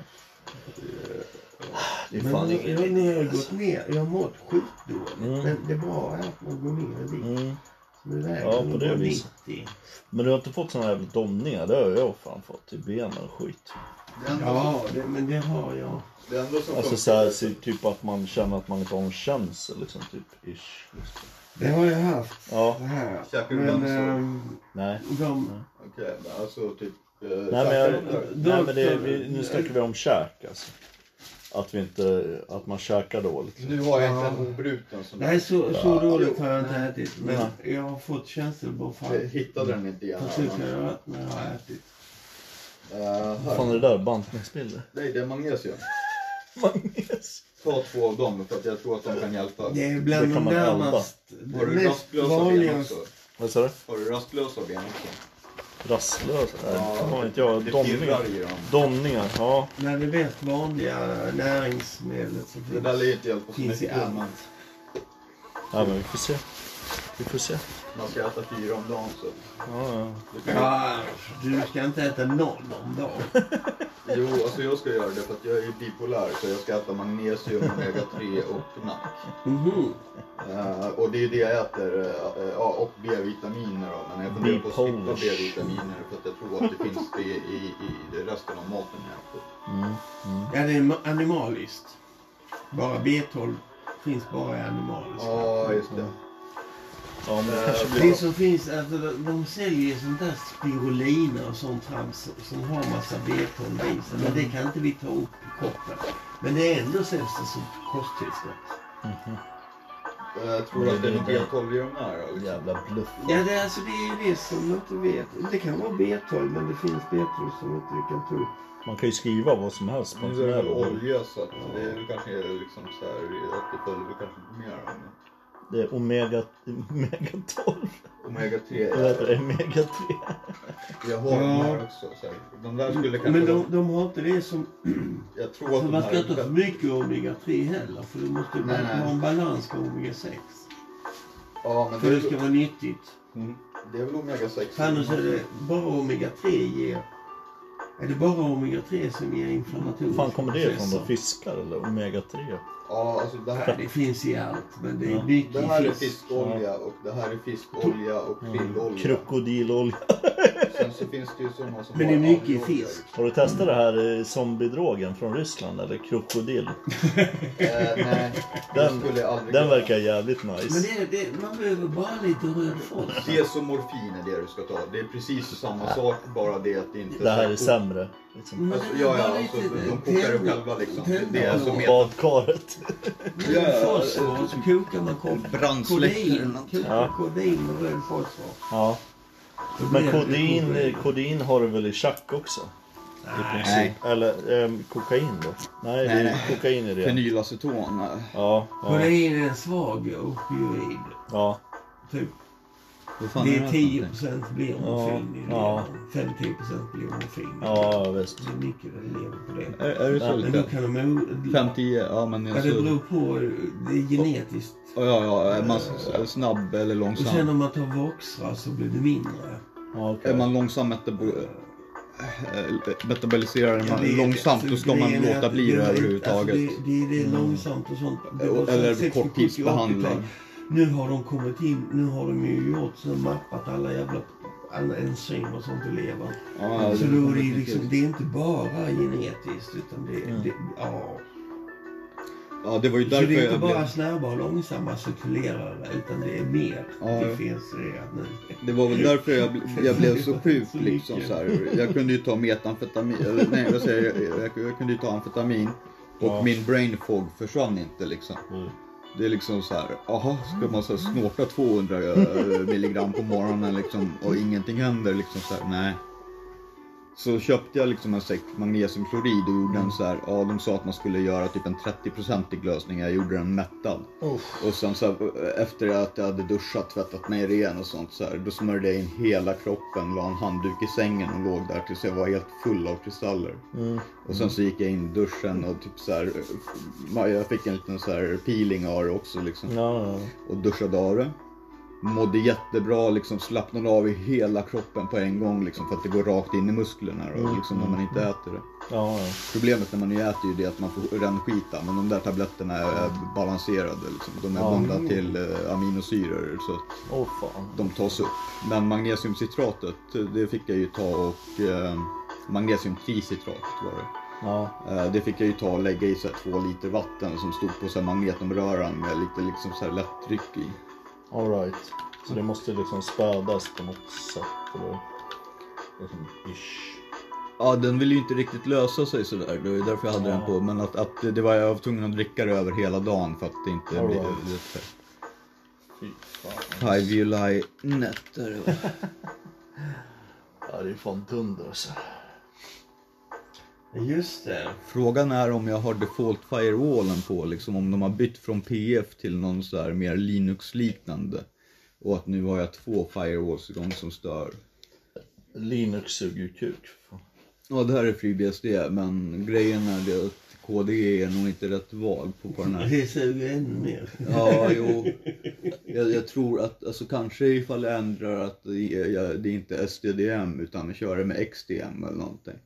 [SPEAKER 3] Det är
[SPEAKER 1] Men
[SPEAKER 3] fan
[SPEAKER 1] nu,
[SPEAKER 3] ingen
[SPEAKER 1] nu, nu har jag gått ner. Jag har mått skitdåligt.
[SPEAKER 3] Mm.
[SPEAKER 1] Men det bra är att man går ner i vikt.
[SPEAKER 3] Mm.
[SPEAKER 1] Nu väger
[SPEAKER 3] Ja,
[SPEAKER 1] jag
[SPEAKER 3] på det
[SPEAKER 1] bara
[SPEAKER 3] viset.
[SPEAKER 1] 90.
[SPEAKER 3] Men du har inte fått såna jävla domningar? Det har jag fan fått. I benen och skit.
[SPEAKER 2] Det enda som
[SPEAKER 1] Ja, det, men det har jag.
[SPEAKER 2] Det enda som
[SPEAKER 3] Alltså
[SPEAKER 2] funkar-
[SPEAKER 3] så här, så typ att man känner att man inte har en känsel liksom. Typ ish.
[SPEAKER 1] Det har jag haft.
[SPEAKER 3] Ja, Mm.
[SPEAKER 1] Det här.
[SPEAKER 2] Käkar du
[SPEAKER 1] Men
[SPEAKER 2] bamsor?
[SPEAKER 1] ehm,
[SPEAKER 3] nej.
[SPEAKER 1] de...
[SPEAKER 2] Okej, men alltså typ... eh,
[SPEAKER 3] Nej men, jag,
[SPEAKER 2] käkar-
[SPEAKER 3] nej, men det, vi, nu snackar vi om käk alltså. Att, vi inte, att man käkar dåligt.
[SPEAKER 2] Nu har jag inte en obruten sån
[SPEAKER 1] Nej,
[SPEAKER 2] där.
[SPEAKER 1] så, så dåligt har jag inte ätit. Men
[SPEAKER 3] Nej.
[SPEAKER 1] jag har fått
[SPEAKER 2] Jag
[SPEAKER 1] känselbortfall.
[SPEAKER 2] hittade den inte igen.
[SPEAKER 1] Precis när jag, när jag har ätit.
[SPEAKER 2] Eh,
[SPEAKER 3] Vad fan
[SPEAKER 2] här.
[SPEAKER 3] är det där? Bantningsbilder?
[SPEAKER 2] Nej, det är magnesium.
[SPEAKER 3] Magnes.
[SPEAKER 2] Ta två av dem för att jag tror att de kan hjälpa.
[SPEAKER 1] Det är bland
[SPEAKER 3] Det kan
[SPEAKER 1] de
[SPEAKER 3] man
[SPEAKER 1] närmast... Det
[SPEAKER 2] Har du
[SPEAKER 1] mest
[SPEAKER 2] rastlösa ben
[SPEAKER 1] vanligaste...
[SPEAKER 2] också?
[SPEAKER 3] Vad sa du?
[SPEAKER 2] Har du rastlösa ben också?
[SPEAKER 3] Rasslar och sådär.
[SPEAKER 4] Ja,
[SPEAKER 3] Fan vet jag.
[SPEAKER 4] Det pirrar
[SPEAKER 3] Domningar.
[SPEAKER 4] i dem.
[SPEAKER 3] Domningar, ja.
[SPEAKER 1] Men det mest vanliga näringsmedlet som
[SPEAKER 4] Det där lär ju inte hjälpa så
[SPEAKER 1] finns i
[SPEAKER 4] mycket. Man,
[SPEAKER 1] allt.
[SPEAKER 3] Ja men vi får se. Vi får se.
[SPEAKER 4] man ska äta fyra om dagen så.
[SPEAKER 3] Ja, ja.
[SPEAKER 4] Det kan jag-
[SPEAKER 1] Ja, du ska inte äta någon om dagen.
[SPEAKER 4] Jo, alltså jag ska göra det för att jag är ju bipolär så jag ska äta magnesium, omega-3 och nack.
[SPEAKER 1] Mhm.
[SPEAKER 4] Eh, och det är det jag äter, eh, ja, och B-vitaminer då. Men jag funderar på att skippa
[SPEAKER 3] Bipolars.
[SPEAKER 4] B-vitaminer för att jag tror att det finns det i, i resten av maten jag äter.
[SPEAKER 3] Mm.
[SPEAKER 1] Ja, det är ma- animaliskt. Bara B12 finns bara i animaliskt.
[SPEAKER 4] Ja, just det.
[SPEAKER 3] ja men det
[SPEAKER 4] Eh,
[SPEAKER 3] kanske blir...
[SPEAKER 1] Det som finns, alltså, de- de säljer sånt där spirulina och sånt trams som har massa B12 i sig. Men det kan inte vi ta upp i kroppen. Men det är ändå säljs det som kosttillskott.
[SPEAKER 4] Eh, tror du att det är
[SPEAKER 1] Mm.
[SPEAKER 4] B12 i de här? då, Liksom?
[SPEAKER 6] Jävla bluff.
[SPEAKER 1] Ja, det, är alltså, det är ju det som man inte vet. Det kan vara B12 men det finns B12 som inte vi kan ta upp.
[SPEAKER 3] Man kan ju skriva vad som helst på en
[SPEAKER 4] Nu
[SPEAKER 3] sån
[SPEAKER 4] är det
[SPEAKER 3] här
[SPEAKER 4] väl
[SPEAKER 3] låda.
[SPEAKER 4] olja så att det är väl kanske liksom så här att det följer väl kanske mer av det.
[SPEAKER 3] Det är omega, omega 12.
[SPEAKER 4] Omega 3.
[SPEAKER 3] Eller heter det omega 3?
[SPEAKER 4] Jag har de
[SPEAKER 1] Ja.
[SPEAKER 4] här också. Så här. De där skulle kanske...
[SPEAKER 1] Men de, de har inte det som...
[SPEAKER 4] Jag tror
[SPEAKER 1] För
[SPEAKER 4] att de
[SPEAKER 1] man
[SPEAKER 4] här...
[SPEAKER 1] ska inte ha för mycket omega-3 heller. För du måste
[SPEAKER 4] Nej, nej.
[SPEAKER 1] ha en balans på omega-6.
[SPEAKER 4] Ja, men
[SPEAKER 1] För
[SPEAKER 4] det,
[SPEAKER 1] det
[SPEAKER 4] är
[SPEAKER 1] ska
[SPEAKER 4] väl-
[SPEAKER 1] vara nyttigt.
[SPEAKER 4] Mm. det är väl omega 6.
[SPEAKER 1] För annars är det bara omega-3 ger... Är det bara omega-3 som ger
[SPEAKER 3] Var
[SPEAKER 1] inflammatoriska
[SPEAKER 3] fan kommer det ifrån då?
[SPEAKER 1] processer?
[SPEAKER 3] Fiskar eller omega 3?
[SPEAKER 4] Ja, alltså det
[SPEAKER 1] Ja,
[SPEAKER 4] här...
[SPEAKER 1] det finns i allt, men det är
[SPEAKER 3] Ja.
[SPEAKER 1] mycket
[SPEAKER 4] Det här
[SPEAKER 1] i
[SPEAKER 4] är
[SPEAKER 1] fisk.
[SPEAKER 4] fiskolja och det här är fiskolja och krillolja.
[SPEAKER 3] Krokodilolja.
[SPEAKER 4] Sen så finns det ju sådana som
[SPEAKER 1] Men det
[SPEAKER 4] har
[SPEAKER 1] är mycket i
[SPEAKER 4] alger.
[SPEAKER 1] fisk.
[SPEAKER 3] Har du testat det här eh, zombiedrogen från Ryssland eller krokodil?
[SPEAKER 4] Eh, nej,
[SPEAKER 3] Den-
[SPEAKER 4] den, skulle jag aldrig
[SPEAKER 3] Den
[SPEAKER 4] kunna.
[SPEAKER 3] verkar jävligt
[SPEAKER 1] Men
[SPEAKER 3] nice.
[SPEAKER 1] det, är- det, man behöver bara lite röd frossa.
[SPEAKER 4] Det är som morfin är det du ska ta. Det är precis samma sak, bara det att det inte...
[SPEAKER 3] Det här är sämre. Liksom.
[SPEAKER 4] Alltså, ja, ja, alltså, de kokar det själva liksom. Det, det är som ja,
[SPEAKER 3] Badkaret.
[SPEAKER 1] Röd fosfor, alltså och så kokar man kol-
[SPEAKER 2] Brandsläckare eller
[SPEAKER 1] kodein.
[SPEAKER 2] något.
[SPEAKER 1] Kokar
[SPEAKER 3] Ja.
[SPEAKER 1] kodein och röd fosfor.
[SPEAKER 3] Ja.
[SPEAKER 1] Då
[SPEAKER 3] Men
[SPEAKER 1] blir det
[SPEAKER 3] kodein,
[SPEAKER 1] kodein.
[SPEAKER 3] kodein har du väl i chack också? I
[SPEAKER 2] Nej.
[SPEAKER 3] princip. Eller ehm, kokain då? Nej, det är kokain i det.
[SPEAKER 2] Fenylaceton. eh,
[SPEAKER 3] Ja, ja,
[SPEAKER 1] Kodein är en svag opioid.
[SPEAKER 3] ja.
[SPEAKER 1] Typ.
[SPEAKER 2] vad fan
[SPEAKER 1] det
[SPEAKER 2] här
[SPEAKER 1] är
[SPEAKER 2] för
[SPEAKER 1] 10
[SPEAKER 2] någonting?
[SPEAKER 1] blir morfin i
[SPEAKER 3] Ja,
[SPEAKER 1] levern. 5-10 blir morfin.
[SPEAKER 3] Ja, visst.
[SPEAKER 1] Det är mycket den lever på det.
[SPEAKER 2] Är, är det så
[SPEAKER 1] Men då
[SPEAKER 2] lite?
[SPEAKER 1] kan de... o-
[SPEAKER 2] 50, ja men
[SPEAKER 1] Ja, det beror
[SPEAKER 2] alltså,
[SPEAKER 1] på. Det är genetiskt.
[SPEAKER 2] ja, ja, är man s- snabb eller
[SPEAKER 1] Och sen
[SPEAKER 2] långsam?
[SPEAKER 1] om man tar Voxra så blir det mindre.
[SPEAKER 3] Ja,
[SPEAKER 2] Är
[SPEAKER 3] okej.
[SPEAKER 2] man långsam metabo- eh, metaboliserar
[SPEAKER 1] Ja, det
[SPEAKER 2] man
[SPEAKER 1] är-
[SPEAKER 2] långsamt
[SPEAKER 1] alltså,
[SPEAKER 2] då ska man
[SPEAKER 1] grejen är
[SPEAKER 2] låta
[SPEAKER 1] att
[SPEAKER 2] bli det
[SPEAKER 1] är-
[SPEAKER 2] överhuvudtaget. Mm.
[SPEAKER 1] Alltså, det, det, det är långsamt och sånt. Det var
[SPEAKER 2] Eller
[SPEAKER 1] 60, 70, 80-tal.
[SPEAKER 2] korttidsbehandling.
[SPEAKER 1] Nu har de kommit in. Nu har de ju gjort så mappat alla jävla alla enzymer och sånt i levern.
[SPEAKER 2] Ja,
[SPEAKER 1] så då är det, ju liksom, det är inte bara genetiskt utan det, det ja.
[SPEAKER 2] ja, det var ju
[SPEAKER 1] Så
[SPEAKER 2] därför
[SPEAKER 1] det är inte
[SPEAKER 2] jag
[SPEAKER 1] bara
[SPEAKER 2] blev...
[SPEAKER 1] snabba och långsamma cirkulerare utan det är mer.
[SPEAKER 2] Ja.
[SPEAKER 1] Det finns redan nu.
[SPEAKER 2] Det var väl därför jag, bl- jag blev så sjuk liksom så här. Jag kunde ju ta metamfetamin, eller nej vad säger jag, jag, jag kunde ju ta amfetamin och
[SPEAKER 3] Ja.
[SPEAKER 2] min brain fog försvann inte liksom.
[SPEAKER 3] Mm.
[SPEAKER 2] Det är liksom så här, aha, ska man så här snorta 200 eh, milligram på morgonen liksom och ingenting händer liksom så här, nej. Så köpte jag liksom en säck magnesiumklorid och gjorde en så här, ja de sa att man skulle göra typ en 30-procentig lösning, jag gjorde den mättad. Och sen så här, efter att jag hade duschat, tvättat mig ren och sånt så här, då smörjde jag in hela kroppen, la en handduk i sängen och låg där tills jag var helt full av kristaller.
[SPEAKER 3] Mm.
[SPEAKER 2] Och sen så gick jag in i duschen och typ så här, jag fick en liten så här peeling av det också liksom.
[SPEAKER 3] Ja, ja.
[SPEAKER 2] Och duschade av det. Mådde jättebra, liksom slappnade av i hela kroppen på en gång liksom för att det går rakt in i musklerna och liksom när man inte äter det.
[SPEAKER 3] ja, ja.
[SPEAKER 2] Problemet när man ju äter ju det att man får rännskita men de där tabletterna är balanserade liksom. De är
[SPEAKER 3] Ja.
[SPEAKER 2] bundna till eh, aminosyror så att
[SPEAKER 3] Åh fan.
[SPEAKER 2] de tas upp. Men magnesiumcitratet, det fick jag ju ta och eh, magnesiumtricitrat var det.
[SPEAKER 3] Ja,
[SPEAKER 2] Eh, Det fick jag ju ta och lägga i så här två liter vatten som stod på så här magnetomröran med lite liksom så här lätt tryck i.
[SPEAKER 3] alright. Så det måste liksom spädas på något sätt eller? Liksom, ish.
[SPEAKER 2] Ja, den ville ju inte riktigt lösa sig sådär. Det var ju därför jag hade den på. Men att, att det- det var jag var tvungen att dricka det över hela dagen för att det inte
[SPEAKER 3] All
[SPEAKER 2] blev...
[SPEAKER 3] right. Fy fan.
[SPEAKER 2] Five July nätter.
[SPEAKER 3] Ja, det är fan dunder alltså.
[SPEAKER 1] Just det.
[SPEAKER 2] Frågan är om jag har default firewallen på, liksom om de har bytt från PF till någon så här mer Linux-liknande. Och att nu har jag två firewalls igång som stör.
[SPEAKER 3] Linux suger ju kuk.
[SPEAKER 2] Ja, det här är FreeBSD, men grejen är det att KDE är nog inte rätt val på, på den här.
[SPEAKER 1] Det suger ännu mer.
[SPEAKER 2] Ja, jo. Jag, jag tror att, alltså kanske ifall jag ändrar att det är- jag- det är inte är SDDM utan jag kör det med XDM eller någonting.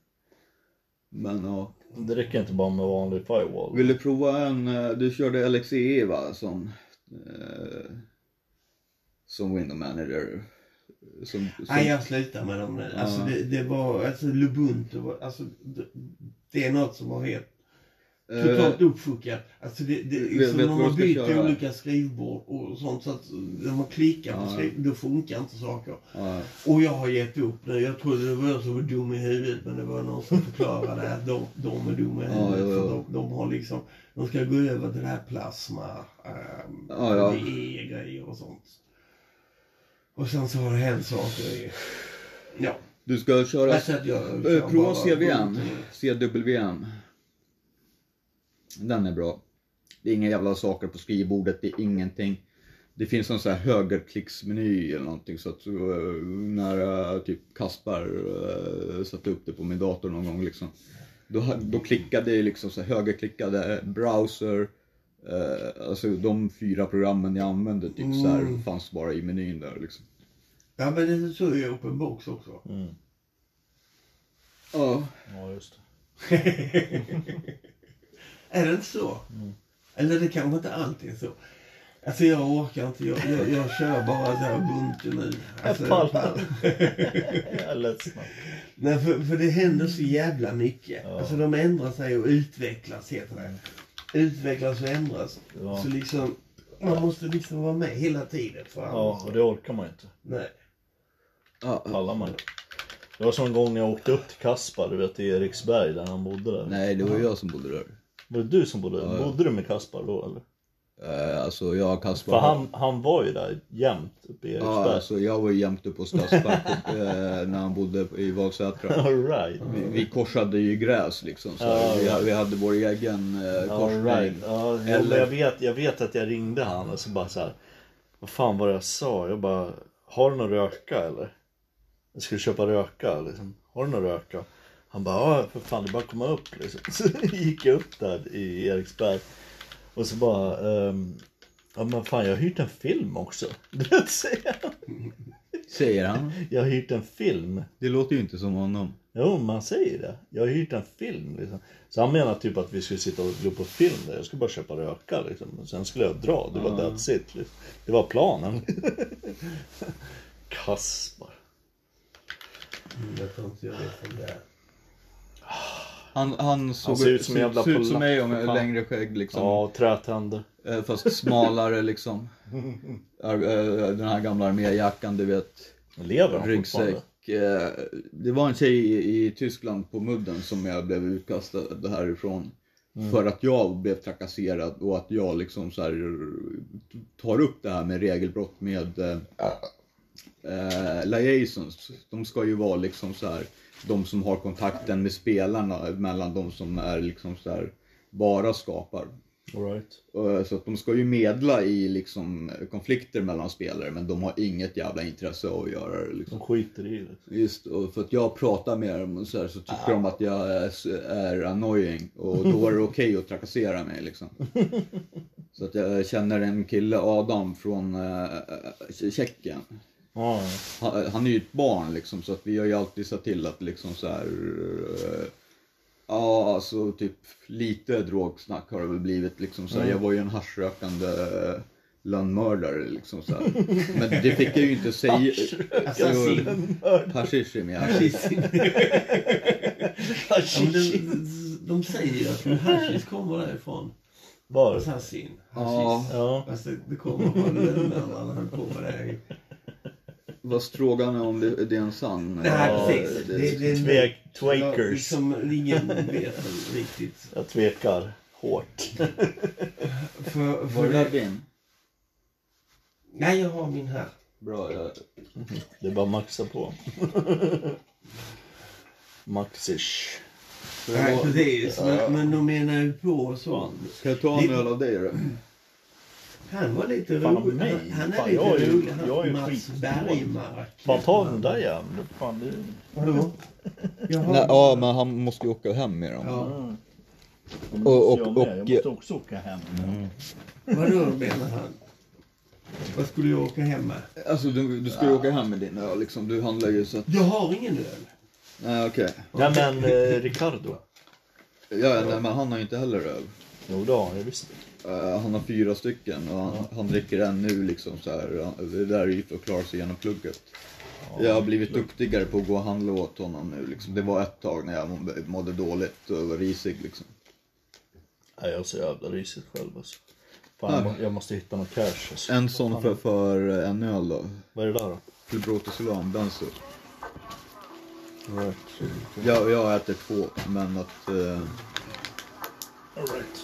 [SPEAKER 2] Men ja.
[SPEAKER 3] Det räcker inte bara med vanlig firewall.
[SPEAKER 2] Vill du prova en, eh, du körde LXE va? Som, eh, som window manager. eh, Som, som,
[SPEAKER 1] Nej, jag slutar med dem nu. Alltså,
[SPEAKER 2] Ja.
[SPEAKER 1] det, det var, alltså Lubuntu, var- alltså, det, det är något som har helt
[SPEAKER 2] eh,
[SPEAKER 1] totalt uppfuckat. Alltså, det, det,
[SPEAKER 2] vet-
[SPEAKER 1] liksom,
[SPEAKER 2] vet
[SPEAKER 1] de
[SPEAKER 2] vad
[SPEAKER 1] har
[SPEAKER 2] jag ska
[SPEAKER 1] bytt
[SPEAKER 2] köra?
[SPEAKER 1] olika skrivbord och sånt så att när man klickar på
[SPEAKER 2] Ja.
[SPEAKER 1] skriv, då funkar inte saker.
[SPEAKER 2] ja.
[SPEAKER 1] Och jag har gett upp nu. Jag trodde det var jag som var dum i huvudet men det var någon som förklarade att de, de är dumma i
[SPEAKER 2] Ja,
[SPEAKER 1] huvudet.
[SPEAKER 2] ja, ja.
[SPEAKER 1] För de, de har liksom, de ska gå över till det här plasma, ehm,
[SPEAKER 2] Ja, ja.
[SPEAKER 1] grejer och sånt. Och sen så har det hänt saker i... Ja.
[SPEAKER 2] Du ska köra,
[SPEAKER 1] Alltså att jag,
[SPEAKER 2] eh,
[SPEAKER 1] jag
[SPEAKER 2] prova
[SPEAKER 1] bara-
[SPEAKER 2] CVM, CWM. Den är bra. Det är inga jävla saker på skrivbordet, det är ingenting. Det finns en sån här högerklicksmeny eller någonting så att eh, när eh, typ Kaspar eh, satte upp det på min dator någon gång liksom. Då, ha- då klickade jag liksom så här, högerklickade eh, browser, eh, alltså de fyra programmen jag använde typ så här
[SPEAKER 1] Mm.
[SPEAKER 2] fanns bara i menyn där liksom.
[SPEAKER 1] Ja men det är så i Open Box också.
[SPEAKER 3] Mm.
[SPEAKER 2] Ja,
[SPEAKER 3] Ja, just det.
[SPEAKER 1] Är det inte så?
[SPEAKER 3] Mm.
[SPEAKER 1] Eller det kanske inte alltid är så. Alltså jag orkar inte. Jag, jag, jag kör bara så här Ubuntu nu. Alltså,
[SPEAKER 3] Palma. Jag är ledsna.
[SPEAKER 1] Nej, för, för det händer så jävla mycket.
[SPEAKER 3] Ja. Mm.
[SPEAKER 1] Alltså de ändrar sig och utvecklas heter det. Utvecklas och ändras.
[SPEAKER 3] Ja.
[SPEAKER 1] Så liksom, man måste liksom vara med hela tiden. För
[SPEAKER 3] ja,
[SPEAKER 1] annars-
[SPEAKER 3] och det orkar man ju inte.
[SPEAKER 1] Nej.
[SPEAKER 2] ja, ja.
[SPEAKER 3] Pallar man inte. Det var som en gång när jag åkte upp till Kaspar, du vet i Eriksberg där han bodde där.
[SPEAKER 2] Nej, det var jag som bodde där.
[SPEAKER 3] Var det du som bodde där?
[SPEAKER 2] Ja, ja.
[SPEAKER 3] Bodde du med Kaspar då eller?
[SPEAKER 2] Eh, Alltså jag och Kaspar...
[SPEAKER 3] För han, han var ju där jämt uppe i
[SPEAKER 2] ja,
[SPEAKER 3] Eriksberg.
[SPEAKER 2] alltså, jag var ju jämt uppe hos Kaspar på, eh, när han bodde i Valsätra.
[SPEAKER 3] All right.
[SPEAKER 2] Vi, vi korsade ju gräs liksom. Så
[SPEAKER 3] Ja,
[SPEAKER 2] vi,
[SPEAKER 3] ja.
[SPEAKER 2] vi hade vår egen eh, korsning.
[SPEAKER 3] All right. Ja, jo,
[SPEAKER 2] Eller-
[SPEAKER 3] men jag, vet, jag vet att jag ringde han och så bara så här. Vad fan var det jag sa? Jag bara, har du någon röka eller? Jag skulle köpa röka liksom. Har du någon röka? Han bara, ja för fan det är bara att komma upp liksom. Så gick jag upp där i Eriksberg. Och så bara, ehm, ja men fan jag har hyrt en film också. Du vet, säger han.
[SPEAKER 2] Säger han.
[SPEAKER 3] jag har hyrt en film.
[SPEAKER 2] Det låter ju inte som honom.
[SPEAKER 3] Jo, man säger det. Jag har hyrt en film. Liksom. Så han menar typ att vi skulle sitta och glo på film där. Jag skulle bara köpa röka liksom. Och sen skulle jag dra. Det var
[SPEAKER 1] Ah.
[SPEAKER 2] Ja.
[SPEAKER 3] that's it. Liksom. Det var planen. Kaspar.
[SPEAKER 1] Jag tror inte jag vet om det är.
[SPEAKER 2] Han, han såg
[SPEAKER 3] ser ut som en jävla
[SPEAKER 2] ser ut som
[SPEAKER 3] polack,
[SPEAKER 2] mig om
[SPEAKER 3] för
[SPEAKER 2] jag
[SPEAKER 3] fan.
[SPEAKER 2] längre skägg liksom.
[SPEAKER 3] Ja, och trätänder.
[SPEAKER 2] Eh, Fast smalare liksom. Ar- eh, Den här gamla arméjackan du vet.
[SPEAKER 3] Lever han
[SPEAKER 2] ryggsäck.
[SPEAKER 3] fortfarande?
[SPEAKER 2] Eh, Det var en tjej i, i Tyskland på mudden som jag blev utkastad härifrån. För att jag blev trakasserad och att jag liksom så här tar upp det här med regelbrott med eh, eh, liaisons. De ska ju vara liksom så här de som har kontakten med spelarna mellan de som är liksom så här bara skapar.
[SPEAKER 3] All right.
[SPEAKER 2] Eh, Så att de ska ju medla i liksom konflikter mellan spelare men de har inget jävla intresse av att göra det. Liksom.
[SPEAKER 3] De skiter i det.
[SPEAKER 2] Just och för att jag pratar med dem och så, här, så tycker de att jag är, s- är annoying och då är det okej att trakassera mig liksom. Så att jag känner en kille, Adam från eh, Tje- Tjeckien.
[SPEAKER 1] Ah,
[SPEAKER 3] Ja, ja.
[SPEAKER 2] Han, han är ju ett barn liksom så att vi har ju alltid sett till att liksom så här. eh, Ja, alltså typ lite drogsnack har det väl blivit liksom så här, Jag var ju en haschrökande eh, lönnmördare liksom så här. Men det fick jag ju inte säga.
[SPEAKER 1] Assassin.
[SPEAKER 2] Haschisch är med.
[SPEAKER 1] Ja, men de, de- de säger ju att hashish kommer därifrån.
[SPEAKER 3] Var?
[SPEAKER 1] Assassin.
[SPEAKER 2] Ja.
[SPEAKER 1] Hashish.
[SPEAKER 3] Ja.
[SPEAKER 1] Alltså det kommer från lönnmördaren höll på med det.
[SPEAKER 2] Fast frågan är om det, det är en sann. eh,
[SPEAKER 1] Nej
[SPEAKER 3] Ja, liksom
[SPEAKER 1] precis. Det, det, det,
[SPEAKER 3] Tvek,
[SPEAKER 1] Ja,
[SPEAKER 3] Twakers.
[SPEAKER 1] liksom, ingen vet väl riktigt.
[SPEAKER 3] Jag tvekar hårt.
[SPEAKER 1] För,
[SPEAKER 2] Var
[SPEAKER 1] för
[SPEAKER 2] det där din?
[SPEAKER 1] Nej, jag har min här.
[SPEAKER 2] Bra, jag...
[SPEAKER 3] Det är bara att maxa på. Maxish.
[SPEAKER 2] Ska
[SPEAKER 1] Nej,
[SPEAKER 2] jag,
[SPEAKER 1] precis. Men, men de menar ju på och sånt.
[SPEAKER 2] ska jag ta en öl av dig då?
[SPEAKER 1] Han var lite
[SPEAKER 3] Fan,
[SPEAKER 1] rolig.
[SPEAKER 3] mig.
[SPEAKER 1] Han är
[SPEAKER 3] Fan,
[SPEAKER 1] lite
[SPEAKER 3] jag är ju-
[SPEAKER 1] rolig. Han-
[SPEAKER 3] jag är ju
[SPEAKER 1] Mats
[SPEAKER 3] skitdålig.
[SPEAKER 1] Bergmark.
[SPEAKER 3] Fan ta den där jäveln. Fan, det...
[SPEAKER 1] Vadå? Jaha.
[SPEAKER 2] Nej, ja, men han måste ju åka hem med dem.
[SPEAKER 1] Ja.
[SPEAKER 3] Mm.
[SPEAKER 2] Och- och-
[SPEAKER 3] jag, med. jag
[SPEAKER 2] och-
[SPEAKER 3] måste också åka hem. nu.
[SPEAKER 1] Vadå menar han? Vad skulle jag åka hem med?
[SPEAKER 2] Alltså du, du ska ju åka hem med din öl liksom. Du handlar ju så att...
[SPEAKER 1] Jag har ingen öl.
[SPEAKER 2] Nej okej.
[SPEAKER 3] Nej men eh, Ricardo.
[SPEAKER 2] Ja, nej, men han har ju inte heller öl.
[SPEAKER 3] Jo det har jag visst.
[SPEAKER 2] Eh, han har fyra stycken och han, han dricker en nu liksom så här. Han, det där är ju för att klara sig genom plugget. jag har blivit duktigare på att gå och handla åt honom nu liksom. Det var ett tag när jag må- mådde dåligt och var risig liksom.
[SPEAKER 3] Nej jag är så jävla risigt själv alltså. Fan, jag, må- jag måste hitta något cash alltså.
[SPEAKER 2] En sån för, för en öl då.
[SPEAKER 3] Vad är det där då?
[SPEAKER 2] Till Bratislavan, Benzo. Jag, jag äter två, men att... eh,
[SPEAKER 3] Alright.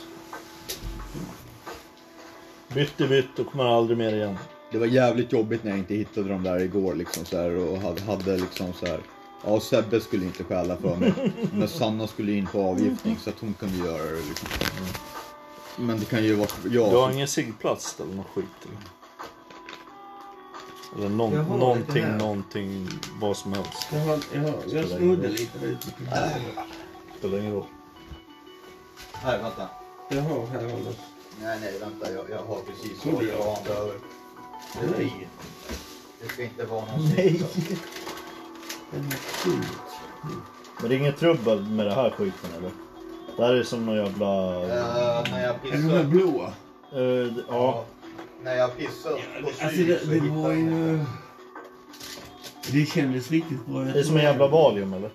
[SPEAKER 3] Bytt är bytt och kommer aldrig mer igen.
[SPEAKER 2] Det var jävligt jobbigt när jag inte hittade dem där igår liksom så här, och hade, hade liksom så här. Ja, Sebbe skulle inte stjäla för mig. Men Sanna skulle in på avgiftning så att hon kunde göra det liksom. Men det kan ju vara jag.
[SPEAKER 3] Du har ingen ciggplats eller någon skit? Eller, eller någon,
[SPEAKER 1] Jag har
[SPEAKER 3] någonting,
[SPEAKER 1] det här.
[SPEAKER 3] någonting, vad som helst.
[SPEAKER 1] Jag, har, jag, har, jag snodde lite ute på bordet.
[SPEAKER 3] Spelar ingen roll.
[SPEAKER 2] Nej, vänta.
[SPEAKER 1] Jag har här något.
[SPEAKER 2] Nej, nej, vänta. Jag, jag har precis
[SPEAKER 1] Tror du jag har
[SPEAKER 2] andra över.
[SPEAKER 1] Nej,
[SPEAKER 2] Det ska inte vara någon Nej!
[SPEAKER 1] den är fullt.
[SPEAKER 3] Men det är inget trubbel med det här skiten eller? Det här är som någon jävla...
[SPEAKER 2] Eh, när jag
[SPEAKER 1] Är de här blåa?
[SPEAKER 3] Eh, d- ja.
[SPEAKER 2] När jag pissade
[SPEAKER 1] Alltså det, det var ju... Det kändes riktigt bra.
[SPEAKER 3] Det är som en jävla Valium eller?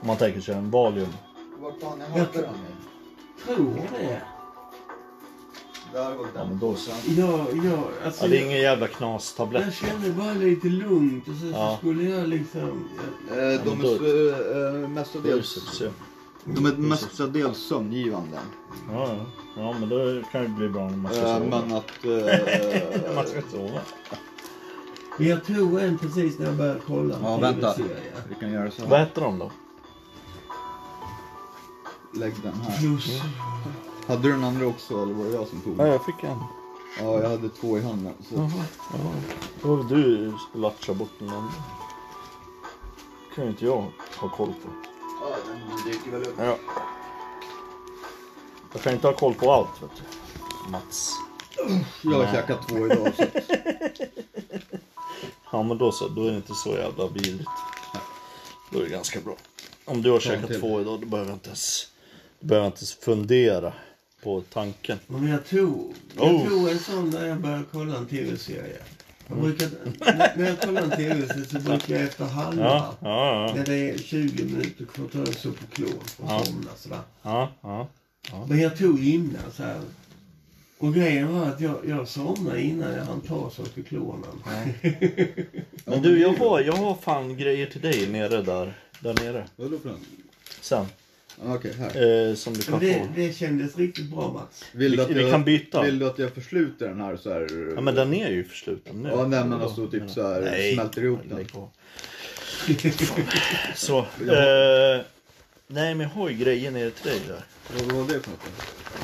[SPEAKER 3] Om man tänker sig en Valium.
[SPEAKER 2] Vart fan är
[SPEAKER 1] hade de Tror det.
[SPEAKER 2] Där var
[SPEAKER 3] Ja men då
[SPEAKER 2] Eh,
[SPEAKER 3] så.
[SPEAKER 1] Jag, jag, alltså,
[SPEAKER 3] Ja, det är
[SPEAKER 1] jag-
[SPEAKER 3] ingen jävla
[SPEAKER 1] jag
[SPEAKER 3] knastablett.
[SPEAKER 1] kände bara lite lugnt och sen
[SPEAKER 3] Ja.
[SPEAKER 1] så skulle jag liksom...
[SPEAKER 2] Eh, de är eh, eh,
[SPEAKER 3] Det är ju
[SPEAKER 2] mestadels,
[SPEAKER 3] så- så.
[SPEAKER 2] de är mestadels sömngivande.
[SPEAKER 3] Ja, ja. ja men då kan det bli bra när man ska
[SPEAKER 2] Eh,
[SPEAKER 3] sova.
[SPEAKER 2] men att...
[SPEAKER 3] När
[SPEAKER 2] Eh,
[SPEAKER 3] man ska sova.
[SPEAKER 1] Men jag tog en precis när jag började kolla. en
[SPEAKER 2] ja, vänta.
[SPEAKER 1] TV-serie.
[SPEAKER 2] Vi kan göra så.
[SPEAKER 3] Vad
[SPEAKER 2] här.
[SPEAKER 3] heter de då?
[SPEAKER 2] Lägg den här.
[SPEAKER 1] Plus...
[SPEAKER 2] Hade du den andra också eller var det jag som tog den?
[SPEAKER 3] jag fick en.
[SPEAKER 2] Ja, jag hade två i handen. Så.
[SPEAKER 3] Och du latchar bort den andra. kan ju inte jag ha koll på.
[SPEAKER 2] Ja, den dyker väl upp.
[SPEAKER 3] Ja. Jag kan inte ha koll på allt vet du. Mats.
[SPEAKER 2] Jag har käkat två idag. Så. att-
[SPEAKER 3] Ja men då så, då är det inte så jävla vidrigt. Då är det ganska bra. Om du har käkat
[SPEAKER 2] till.
[SPEAKER 3] två idag då behöver jag inte ens, då behöver jag inte ens fundera på tanken.
[SPEAKER 1] Men jag tog, jag
[SPEAKER 3] Oh.
[SPEAKER 1] tog en sån när jag började kolla en tv-serie. Jag brukar, när när jag kollar en tv-serie så brukar jag efter halva,
[SPEAKER 3] Ja, ja, ja.
[SPEAKER 1] när det är 20 minuter kvar, ta en sup och klor och
[SPEAKER 3] Ja.
[SPEAKER 1] somna sådär.
[SPEAKER 3] ja, ja.
[SPEAKER 1] Men jag tog innan så här. Och grejen var att jag, jag somnade innan jag hann ta sockerklonan.
[SPEAKER 2] Ja,
[SPEAKER 3] Men du, jag har, jag har fan grejer till dig nere där. Där nere.
[SPEAKER 2] Vadå för den?
[SPEAKER 3] Sen.
[SPEAKER 2] Ja, Okej, här.
[SPEAKER 3] Eh, som du kan
[SPEAKER 1] Men
[SPEAKER 3] få.
[SPEAKER 1] det, det kändes riktigt bra Mats.
[SPEAKER 2] Vill du
[SPEAKER 3] vi-
[SPEAKER 2] att
[SPEAKER 3] vi
[SPEAKER 2] jag,
[SPEAKER 3] kan byta.
[SPEAKER 2] Vill du att jag försluter den här så här?
[SPEAKER 3] Ja men den är ju försluten nu.
[SPEAKER 2] Ja, nej, men alltså typ så här, smälter ihop den.
[SPEAKER 3] lägg av. Så. Eh, nej men jag har ju grejer nere till dig där.
[SPEAKER 2] Vad var det för något? då?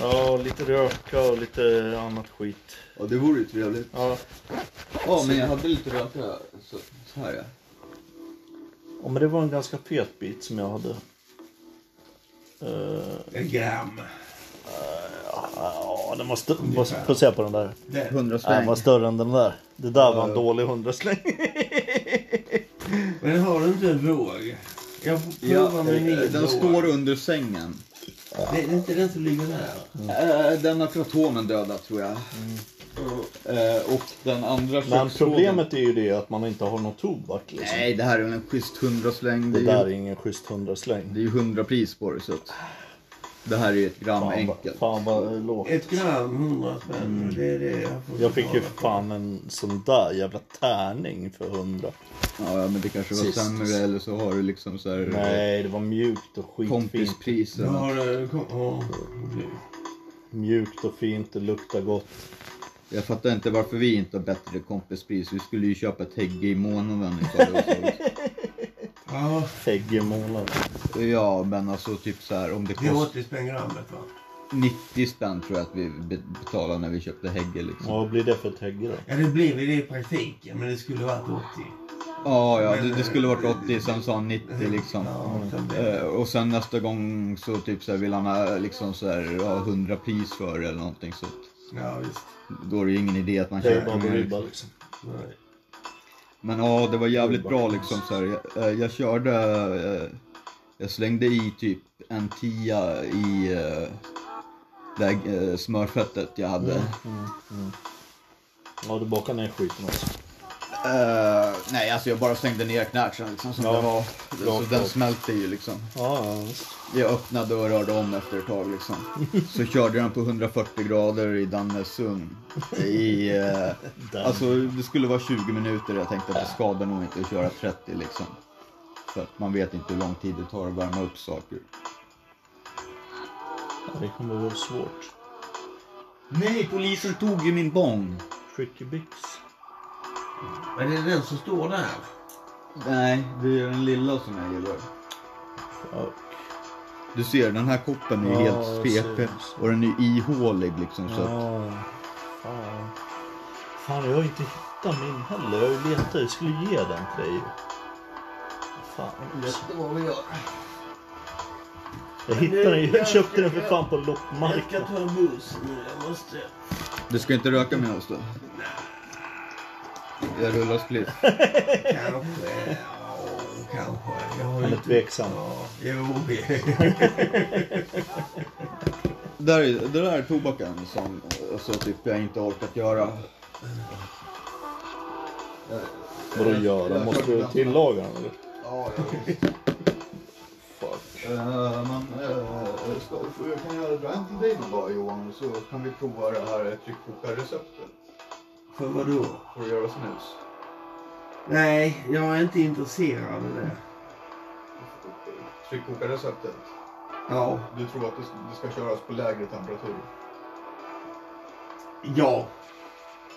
[SPEAKER 3] Ja, lite röka och lite annat skit.
[SPEAKER 2] Ja, det vore ju trevligt.
[SPEAKER 3] Ja.
[SPEAKER 2] Ja, men jag hade lite röka. Så, så här ja.
[SPEAKER 3] ja, men det var en ganska fet bit som jag hade. Eh,
[SPEAKER 1] En gram.
[SPEAKER 3] ja, den var större. Vad får jag säga på den där?
[SPEAKER 1] Där.
[SPEAKER 2] 100
[SPEAKER 3] Nej, den var större än den där. Det där var en
[SPEAKER 2] Ja.
[SPEAKER 3] dålig hundrasläng.
[SPEAKER 1] Men har du inte en våg? Jag får prova
[SPEAKER 2] Ja,
[SPEAKER 1] med min
[SPEAKER 2] eh, den
[SPEAKER 1] våg.
[SPEAKER 2] står under sängen.
[SPEAKER 1] Det är inte den som ligger där.
[SPEAKER 3] Mm.
[SPEAKER 2] Eh, Den har kratomen dödat tror jag. Eh, Och den andra
[SPEAKER 3] Men
[SPEAKER 2] köksfrågan-
[SPEAKER 3] problemet är ju det att man inte har någon tobak liksom.
[SPEAKER 2] Nej, det här är väl en schysst hundrasläng. Det
[SPEAKER 3] Det där
[SPEAKER 2] är
[SPEAKER 3] är
[SPEAKER 2] ju
[SPEAKER 3] ingen schysst
[SPEAKER 2] det
[SPEAKER 3] hundrasläng.
[SPEAKER 2] är ju hundra pris på det så att... Det här är ju ett gram
[SPEAKER 3] Fan, vad-
[SPEAKER 2] enkelt.
[SPEAKER 3] fan vad lågt.
[SPEAKER 1] Ett gram, 100 spänn. Det är det jag får
[SPEAKER 3] Mm. Jag fick ju
[SPEAKER 1] betala.
[SPEAKER 3] fan en sån där jävla tärning för hundra.
[SPEAKER 2] Ja, ja, men det kanske var
[SPEAKER 3] Sist.
[SPEAKER 2] sämre eller så har du liksom så här... eh,
[SPEAKER 3] Nej, det var mjukt och skitfint.
[SPEAKER 2] Kompispris
[SPEAKER 1] Då
[SPEAKER 2] eller något.
[SPEAKER 1] har du... Kom, ja, okej.
[SPEAKER 3] Mjukt och fint, det luktar gott.
[SPEAKER 2] Jag fattar inte varför vi inte har bättre kompispris. Vi skulle ju köpa ett hägg i månaden ifall det var så.
[SPEAKER 1] Ja,
[SPEAKER 3] Hägg i månaden.
[SPEAKER 2] Ja, men alltså typ så här om det
[SPEAKER 1] det är
[SPEAKER 2] kostar...
[SPEAKER 1] 80 spänn grammet va?
[SPEAKER 2] 90 spänn tror jag att vi be- betalade när vi köpte Hägge liksom.
[SPEAKER 3] Vad blir det för tägge då?
[SPEAKER 1] Ja, det blev ju det i praktiken, men det skulle varit 80.
[SPEAKER 2] Ja, ja, det, det skulle varit 80, sen sa han 90 liksom.
[SPEAKER 1] Ja, så blev
[SPEAKER 2] Eh, och sen nästa gång så typ så här vill han ha liksom så här, ja, 100 pris för det eller någonting så att
[SPEAKER 1] det- ja visst.
[SPEAKER 2] då är det ju ingen idé att man
[SPEAKER 3] Det är
[SPEAKER 2] köper
[SPEAKER 3] bara
[SPEAKER 2] mer.
[SPEAKER 3] en
[SPEAKER 2] liksom.
[SPEAKER 3] ribba liksom.
[SPEAKER 1] Nej.
[SPEAKER 2] Men ja, det var jävligt bra liksom så här. Jag, eh, jag körde, eh, jag slängde i typ en tia i eh, det här, eh, smörfettet jag hade.
[SPEAKER 3] Ja, du bakar ner skiten också.
[SPEAKER 2] Eh, nej, alltså jag bara slängde ner knätchen liksom som
[SPEAKER 3] Ja.
[SPEAKER 2] det var. så
[SPEAKER 3] Bra, bra.
[SPEAKER 2] den smälte ju liksom.
[SPEAKER 3] Ja, ja, visst.
[SPEAKER 2] Jag öppnade och rörde om efter ett tag liksom. Så körde jag den på 140 grader i Dannesund. I, eh,
[SPEAKER 3] Där.
[SPEAKER 2] alltså det skulle vara 20 minuter. Jag tänkte att det skadar nog inte att köra 30 liksom. För att man vet inte hur lång tid det tar att värma upp saker.
[SPEAKER 3] det kommer vara svårt.
[SPEAKER 2] Nej, polisen tog ju min bong.
[SPEAKER 3] Skickebix.
[SPEAKER 1] Men det är den som står där.
[SPEAKER 2] Nej, det är den lilla som jag gillar.
[SPEAKER 3] Ja,
[SPEAKER 2] Du ser, den här koppen är ju
[SPEAKER 3] Ja,
[SPEAKER 2] helt
[SPEAKER 3] jag ser,
[SPEAKER 2] CP
[SPEAKER 3] jag ser.
[SPEAKER 2] och den är ihålig liksom. Så att,
[SPEAKER 3] Ja, fan. Fan, jag har inte hittat min heller. Jag har ju letat. Jag skulle ge den till dig. Fan. alltså. Jag hittade den. Jag köpte den för fan på
[SPEAKER 1] Jag ska
[SPEAKER 3] loppmarknaden.
[SPEAKER 1] ta en buss nu. Jag måste...
[SPEAKER 2] du ska inte röka med oss då? Jag rullar split.
[SPEAKER 1] Kanske. ja, Kanske. Jag har
[SPEAKER 3] Han är
[SPEAKER 1] inte...
[SPEAKER 3] tveksam.
[SPEAKER 1] Ja, jo.
[SPEAKER 2] Där är, det där är tobaken som alltså, typ, jag inte orkat göra.
[SPEAKER 3] Vadå göra? Måste du tillaga den eller?
[SPEAKER 2] Ja,
[SPEAKER 3] Fuck.
[SPEAKER 2] men eh, ska, får jag- kan jag dra en till dig någon dag Johan så kan vi prova det här tryckkokarreceptet
[SPEAKER 1] För vadå?
[SPEAKER 2] för att göra snus.
[SPEAKER 1] Nej, jag är inte intresserad av det.
[SPEAKER 2] Tryckkokarreceptet.
[SPEAKER 1] Ja.
[SPEAKER 2] Du tror att det, det ska köras på lägre temperatur?
[SPEAKER 1] Ja.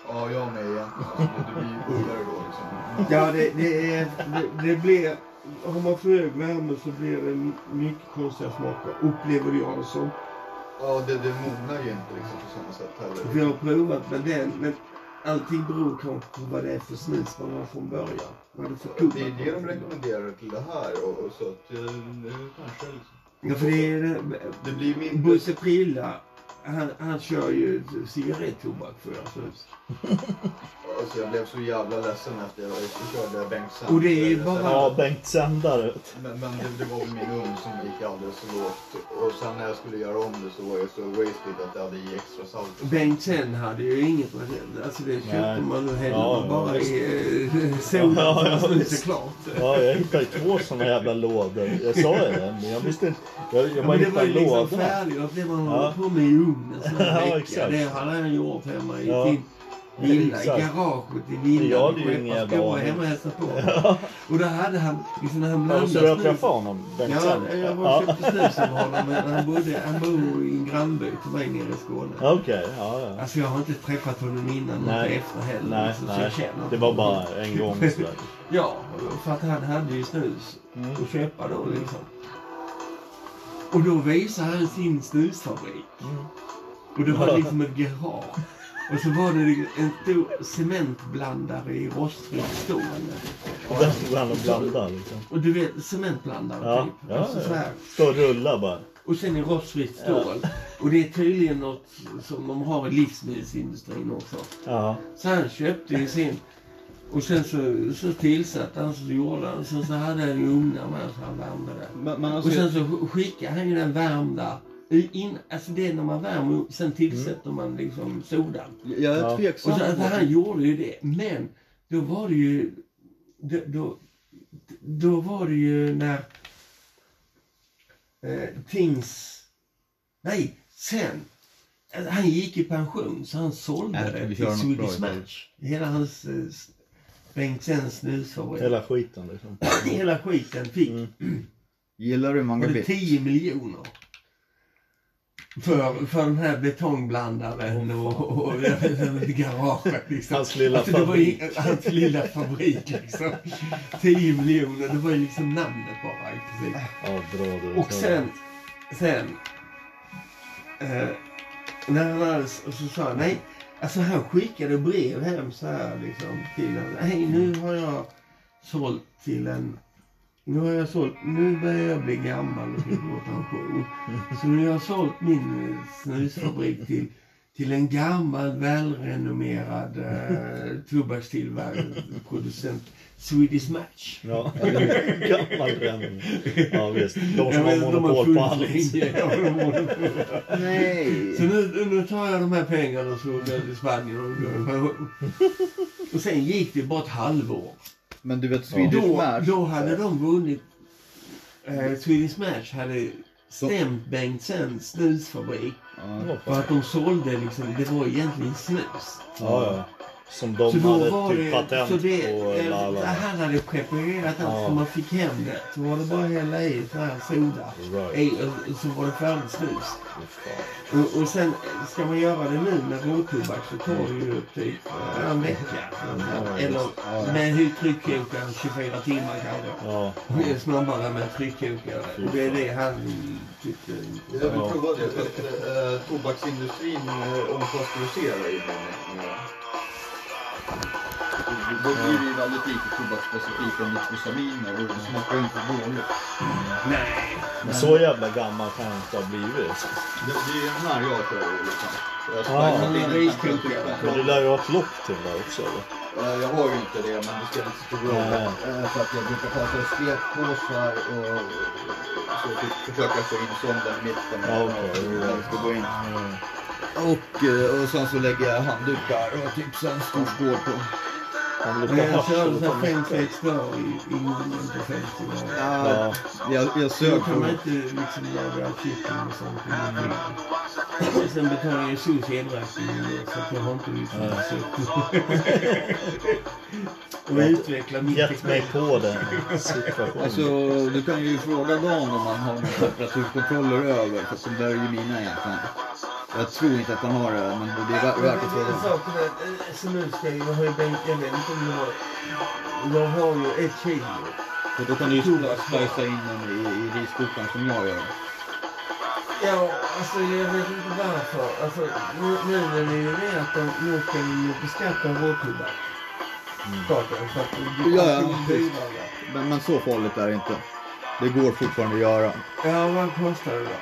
[SPEAKER 2] Ja, jag med egentligen. Det blir ju bullare då liksom.
[SPEAKER 1] Ja, det, det, är, det, det blir... Har man för hög värme så blir det mycket konstiga smaker, upplever jag det som.
[SPEAKER 2] Ja, det, det mognar ju inte liksom på samma sätt
[SPEAKER 1] Vi
[SPEAKER 2] heller.
[SPEAKER 1] har provat med den, men allting beror kanske på vad det är för snus man har från början. Vad det är för tobak.
[SPEAKER 2] Det är det de rekommenderar till det här och, och så att eh, nu kanske liksom.
[SPEAKER 1] Ja, för det är...
[SPEAKER 2] Det blir mindre...
[SPEAKER 1] Bosse Prilla, han, han kör ju cigarettobak för jag snus.
[SPEAKER 2] Alltså jag blev så jävla ledsen efter jag körde Bengtsson.
[SPEAKER 1] Och det är ju bara-
[SPEAKER 3] Ja, Bengt Sändare. vet
[SPEAKER 2] Men, men det, det var väl min ugn som gick alldeles för lågt. Och sen när jag skulle göra om det så var jag så wasted att jag hade i extra salt.
[SPEAKER 1] Bengt Sen hade ju inget patent. Alltså det köpte
[SPEAKER 3] Nej.
[SPEAKER 1] man och hällde
[SPEAKER 3] Ja,
[SPEAKER 1] man
[SPEAKER 3] ja,
[SPEAKER 1] bara
[SPEAKER 3] visst.
[SPEAKER 1] i eh, solen
[SPEAKER 3] Ja,
[SPEAKER 1] för
[SPEAKER 3] ja,
[SPEAKER 1] att snuset
[SPEAKER 3] visst.
[SPEAKER 1] är klart.
[SPEAKER 3] du. Ja, jag hittade två såna jävla lådor. Jag sa ju det, men jag visste inte. Jag, jag
[SPEAKER 1] Ja,
[SPEAKER 3] bara
[SPEAKER 1] men det var
[SPEAKER 3] hittade
[SPEAKER 1] ju liksom
[SPEAKER 3] lådorna.
[SPEAKER 1] färdiglagt det man
[SPEAKER 3] Ja.
[SPEAKER 1] håller på med i ugnen så
[SPEAKER 3] Ja,
[SPEAKER 1] här vecka.
[SPEAKER 3] exakt.
[SPEAKER 1] Det hade han gjort hemma i
[SPEAKER 3] Ja.
[SPEAKER 1] sin villa, i
[SPEAKER 3] Exakt.
[SPEAKER 1] garaget i villan.
[SPEAKER 3] Jag hade ju
[SPEAKER 1] Skeppar
[SPEAKER 3] ingen jävla
[SPEAKER 1] skor och
[SPEAKER 3] aning.
[SPEAKER 1] hemma och hälsade på. Och då hade han, liksom när han
[SPEAKER 3] Ja,
[SPEAKER 1] blandade
[SPEAKER 3] Så jag
[SPEAKER 1] snus-
[SPEAKER 3] träffade honom, Bengt
[SPEAKER 1] Ja,
[SPEAKER 3] Sändare.
[SPEAKER 1] jag var
[SPEAKER 3] Ja.
[SPEAKER 1] och köpte snus av honom. Men han, bodde, han bor i en grannby till mig nere i Skåne.
[SPEAKER 3] Okej, ja, ja.
[SPEAKER 1] Alltså jag har inte träffat honom innan och
[SPEAKER 3] Nej.
[SPEAKER 1] inte efter heller.
[SPEAKER 3] Nej,
[SPEAKER 1] liksom, så
[SPEAKER 3] nej.
[SPEAKER 1] jag känner
[SPEAKER 3] Det var bara en gång sådär.
[SPEAKER 1] Ja, för att han hade ju snus
[SPEAKER 3] Mm.
[SPEAKER 1] att köpa då liksom. Och då visade han sin snusfabrik.
[SPEAKER 3] Mm.
[SPEAKER 1] Och det var liksom ett garage. Och så var det en stor cementblandare i rostfritt stål.
[SPEAKER 3] Och Den tog han och blandade liksom.
[SPEAKER 1] Och du vet, cementblandare
[SPEAKER 3] Ja,
[SPEAKER 1] typ.
[SPEAKER 3] ja,
[SPEAKER 1] alltså, Så
[SPEAKER 3] ja.
[SPEAKER 1] här.
[SPEAKER 3] Står och rullar bara.
[SPEAKER 1] Och sen i rostfritt stål. Och det är tydligen något som de har i livsmedelsindustrin också.
[SPEAKER 3] Ja.
[SPEAKER 1] Så han köpte ju sin. Och sen så, så tillsatte han så gjorde han. Sen så hade han ju ugnar med så han värmde det.
[SPEAKER 2] Men, men alltså,
[SPEAKER 1] Och sen så skickade han ju den värmda. i- In, alltså det är när man värmer upp, sen tillsätter man liksom sodan.
[SPEAKER 2] jag är
[SPEAKER 3] Ja.
[SPEAKER 1] Och så,
[SPEAKER 2] tveksam.
[SPEAKER 1] alltså, han gjorde ju det. Men då var det ju... Då, då, då var det ju när... Eh, Tings... Nej, sen. Alltså, Han gick i pension så han sålde
[SPEAKER 2] Nej, Äh,
[SPEAKER 1] det
[SPEAKER 2] vi kör
[SPEAKER 1] till
[SPEAKER 2] något
[SPEAKER 1] Swedish
[SPEAKER 2] bra istället.
[SPEAKER 1] Match. Hela hans... Eh, s- Bengtzens snusfabrik. Hela,
[SPEAKER 3] Hela Mm, skiten liksom.
[SPEAKER 1] skiten fick.
[SPEAKER 2] Gillar
[SPEAKER 1] Var
[SPEAKER 2] du
[SPEAKER 1] det
[SPEAKER 2] mangabit?
[SPEAKER 1] 10 miljoner? För, för den här betongblandaren och, och, och garaget. Liksom.
[SPEAKER 3] Hans lilla
[SPEAKER 1] alltså, det var ju, Hans lilla fabrik liksom. 10 miljoner, det var ju liksom namnet bara. i princip.
[SPEAKER 3] Ja, bra du.
[SPEAKER 1] Och sen, sen eh, när han hade, och så sa han nej. Alltså han skickade brev hem så här liksom till honom. Hej
[SPEAKER 3] Mm.
[SPEAKER 1] nu har jag sålt till en nu har jag sålt, nu börjar jag bli gammal och vill gå i pension. Så nu har jag sålt min eh, snusfabrik till, till en gammal välrenommerad eh, tobakstillverkare, producent, Swedish Match.
[SPEAKER 3] Ja, gammal bränning. Ja visst, de som
[SPEAKER 1] Jag
[SPEAKER 3] har
[SPEAKER 1] vet inte om
[SPEAKER 3] monopol på
[SPEAKER 1] man
[SPEAKER 3] allt.
[SPEAKER 1] fullföljer.
[SPEAKER 2] Nej!
[SPEAKER 1] Så nu, nu tar jag de här pengarna och så går jag till Spanien och går i pension. Och sen gick det bara ett halvår.
[SPEAKER 2] Men du vet Swedish
[SPEAKER 1] Då,
[SPEAKER 2] Match.
[SPEAKER 1] då hade de vunnit. Eh, Swedish Match hade stämt Bengtzens snusfabrik
[SPEAKER 2] Ja.
[SPEAKER 1] för att de sålde liksom, det var egentligen snus.
[SPEAKER 3] Ja, ja. Som de
[SPEAKER 1] Så då var
[SPEAKER 3] hade typ
[SPEAKER 1] det,
[SPEAKER 3] patent
[SPEAKER 1] så det,
[SPEAKER 3] på.
[SPEAKER 1] eh,
[SPEAKER 3] Eller, eller.
[SPEAKER 1] han hade preparerat allt
[SPEAKER 3] Ja.
[SPEAKER 1] så man fick hem det. Så var det bara att hälla i sån här soda.
[SPEAKER 3] Right.
[SPEAKER 1] I, och- och så var det färdigt snus.
[SPEAKER 3] Fy fan.
[SPEAKER 1] Och, och sen ska man göra det nu med råtobak så tar det ju typ eh, en vecka.
[SPEAKER 3] Ja,
[SPEAKER 1] Eller
[SPEAKER 3] just.
[SPEAKER 1] med hur tryckkokaren 24 timmar kanske.
[SPEAKER 3] Ja,
[SPEAKER 1] Det är snabbare med en tryckkokare. Och det är det han tyckte.
[SPEAKER 4] Jag vill prova det. För att, eh, tobaksindustrin eh, omfastoriserar ju många. Då blir det ju väldigt lite tobaksspecifika nitrosaminer och det smakar ju inte dåligt.
[SPEAKER 1] Nej.
[SPEAKER 3] men så jävla gammal kan jag inte ha blivit.
[SPEAKER 4] Det, det är ju den här jag kör liksom. Jag
[SPEAKER 3] Ah.
[SPEAKER 4] har in en
[SPEAKER 3] Men du
[SPEAKER 4] temperaturkontroll.
[SPEAKER 3] lär ju ha ett lock till det också eller?
[SPEAKER 4] Eh, Jag har ju inte det, men det spelar inte så stor roll.
[SPEAKER 3] Nej.
[SPEAKER 4] Eh, För att jag brukar ta så här stekpåsar och så typ försöka få in sonden i mitten.
[SPEAKER 3] Ja, okej.
[SPEAKER 4] Den ska gå in.
[SPEAKER 3] Mm.
[SPEAKER 4] Och, eh, och sen så lägger jag handdukar och typ så en stor skål på.
[SPEAKER 3] Han
[SPEAKER 1] Men
[SPEAKER 3] luktar
[SPEAKER 1] jag
[SPEAKER 3] hasch
[SPEAKER 1] körde
[SPEAKER 3] eller
[SPEAKER 1] så här
[SPEAKER 3] något.
[SPEAKER 1] fem, sex dagar i, i munnen på 50 dagar.
[SPEAKER 3] Ja,
[SPEAKER 4] Jag, jag
[SPEAKER 1] Då
[SPEAKER 4] sög på
[SPEAKER 1] kan man inte liksom laga kyckling och sånt. i munnen. Och Sen betalar jag ju SOS elräkning så att jag har inte liksom försökt. Och utveckla min
[SPEAKER 3] gett mig
[SPEAKER 1] teknik.
[SPEAKER 3] på den
[SPEAKER 2] Alltså,
[SPEAKER 3] situationen.
[SPEAKER 2] du kan ju fråga Dan om han har några temperaturkontroller över, för de där är ju mina egentligen. Jag tror inte att han har det, men det är vä-
[SPEAKER 1] Men
[SPEAKER 2] värt
[SPEAKER 1] det
[SPEAKER 2] att
[SPEAKER 1] är en
[SPEAKER 2] fråga.
[SPEAKER 1] sak med eh, snusgrejen. Jag har ju bänkat, jag vet inte om du har... Jag har ju ett kilo.
[SPEAKER 2] För då kan du ju slicea in den i, i riskokaren som jag gör.
[SPEAKER 1] Ja, alltså jag vet inte varför. Alltså, nu, nu är det ju det att de, nu ska de ju beskatta råtobak. Staten, så att det blir
[SPEAKER 2] Mm. Ja, ja,
[SPEAKER 1] alltid
[SPEAKER 2] precis.
[SPEAKER 1] dyrare.
[SPEAKER 2] Men, men så farligt är det inte. Det går fortfarande att göra.
[SPEAKER 1] Ja, vad kostar det då?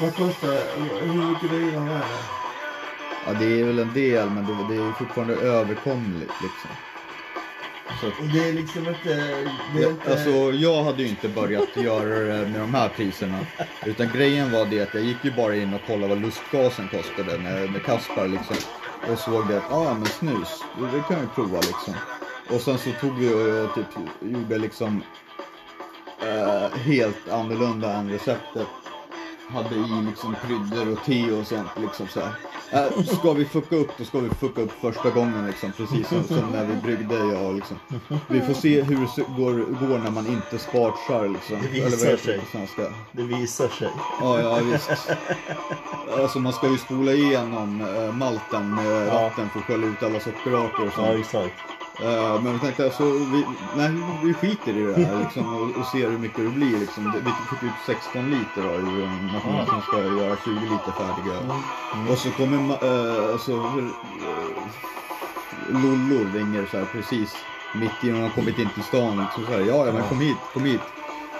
[SPEAKER 1] Vad kostar det? Hur mycket dyrare är det?
[SPEAKER 2] Ja, det är väl en del, men det, det är fortfarande överkomligt liksom.
[SPEAKER 1] Och Det är liksom inte... Det är inte...
[SPEAKER 2] Alltså, jag hade ju inte börjat göra det med de här priserna. Utan grejen var det att jag gick ju bara in och kollade vad lustgasen kostade med, med Kaspar liksom. Och såg det att, ah men snus, det det kan vi prova liksom. Och sen så tog vi och, och typ gjorde liksom eh, helt annorlunda än receptet. Hade i liksom kryddor och te och sånt liksom så här. Eh, ska vi fucka upp då ska vi fucka upp första gången liksom. Precis som, som när vi bryggde jag och liksom. Vi får se hur det s- går, går när man inte spartsar liksom.
[SPEAKER 3] Det visar
[SPEAKER 2] vad heter
[SPEAKER 3] sig.
[SPEAKER 2] det på svenska?
[SPEAKER 3] Det visar sig.
[SPEAKER 2] Ja, ja visst. Alltså man ska ju spola igenom eh, malten med
[SPEAKER 3] Ja.
[SPEAKER 2] vatten för att skölja ut alla sockerarter och sånt.
[SPEAKER 3] Ja, exakt.
[SPEAKER 2] Eh, men vi tänkte alltså, vi, nej, vi skiter i det här liksom, och, och ser hur mycket det blir. Liksom. Det- Vi fick ut 16 liter då, ur en maskin som ska göra 20 liter färdiga. Och så kommer ma- eh, så, eh, Lollo ringer så här precis mitt i när de har kommit in till stan. Så så här, ja, ja men kom hit, kom hit.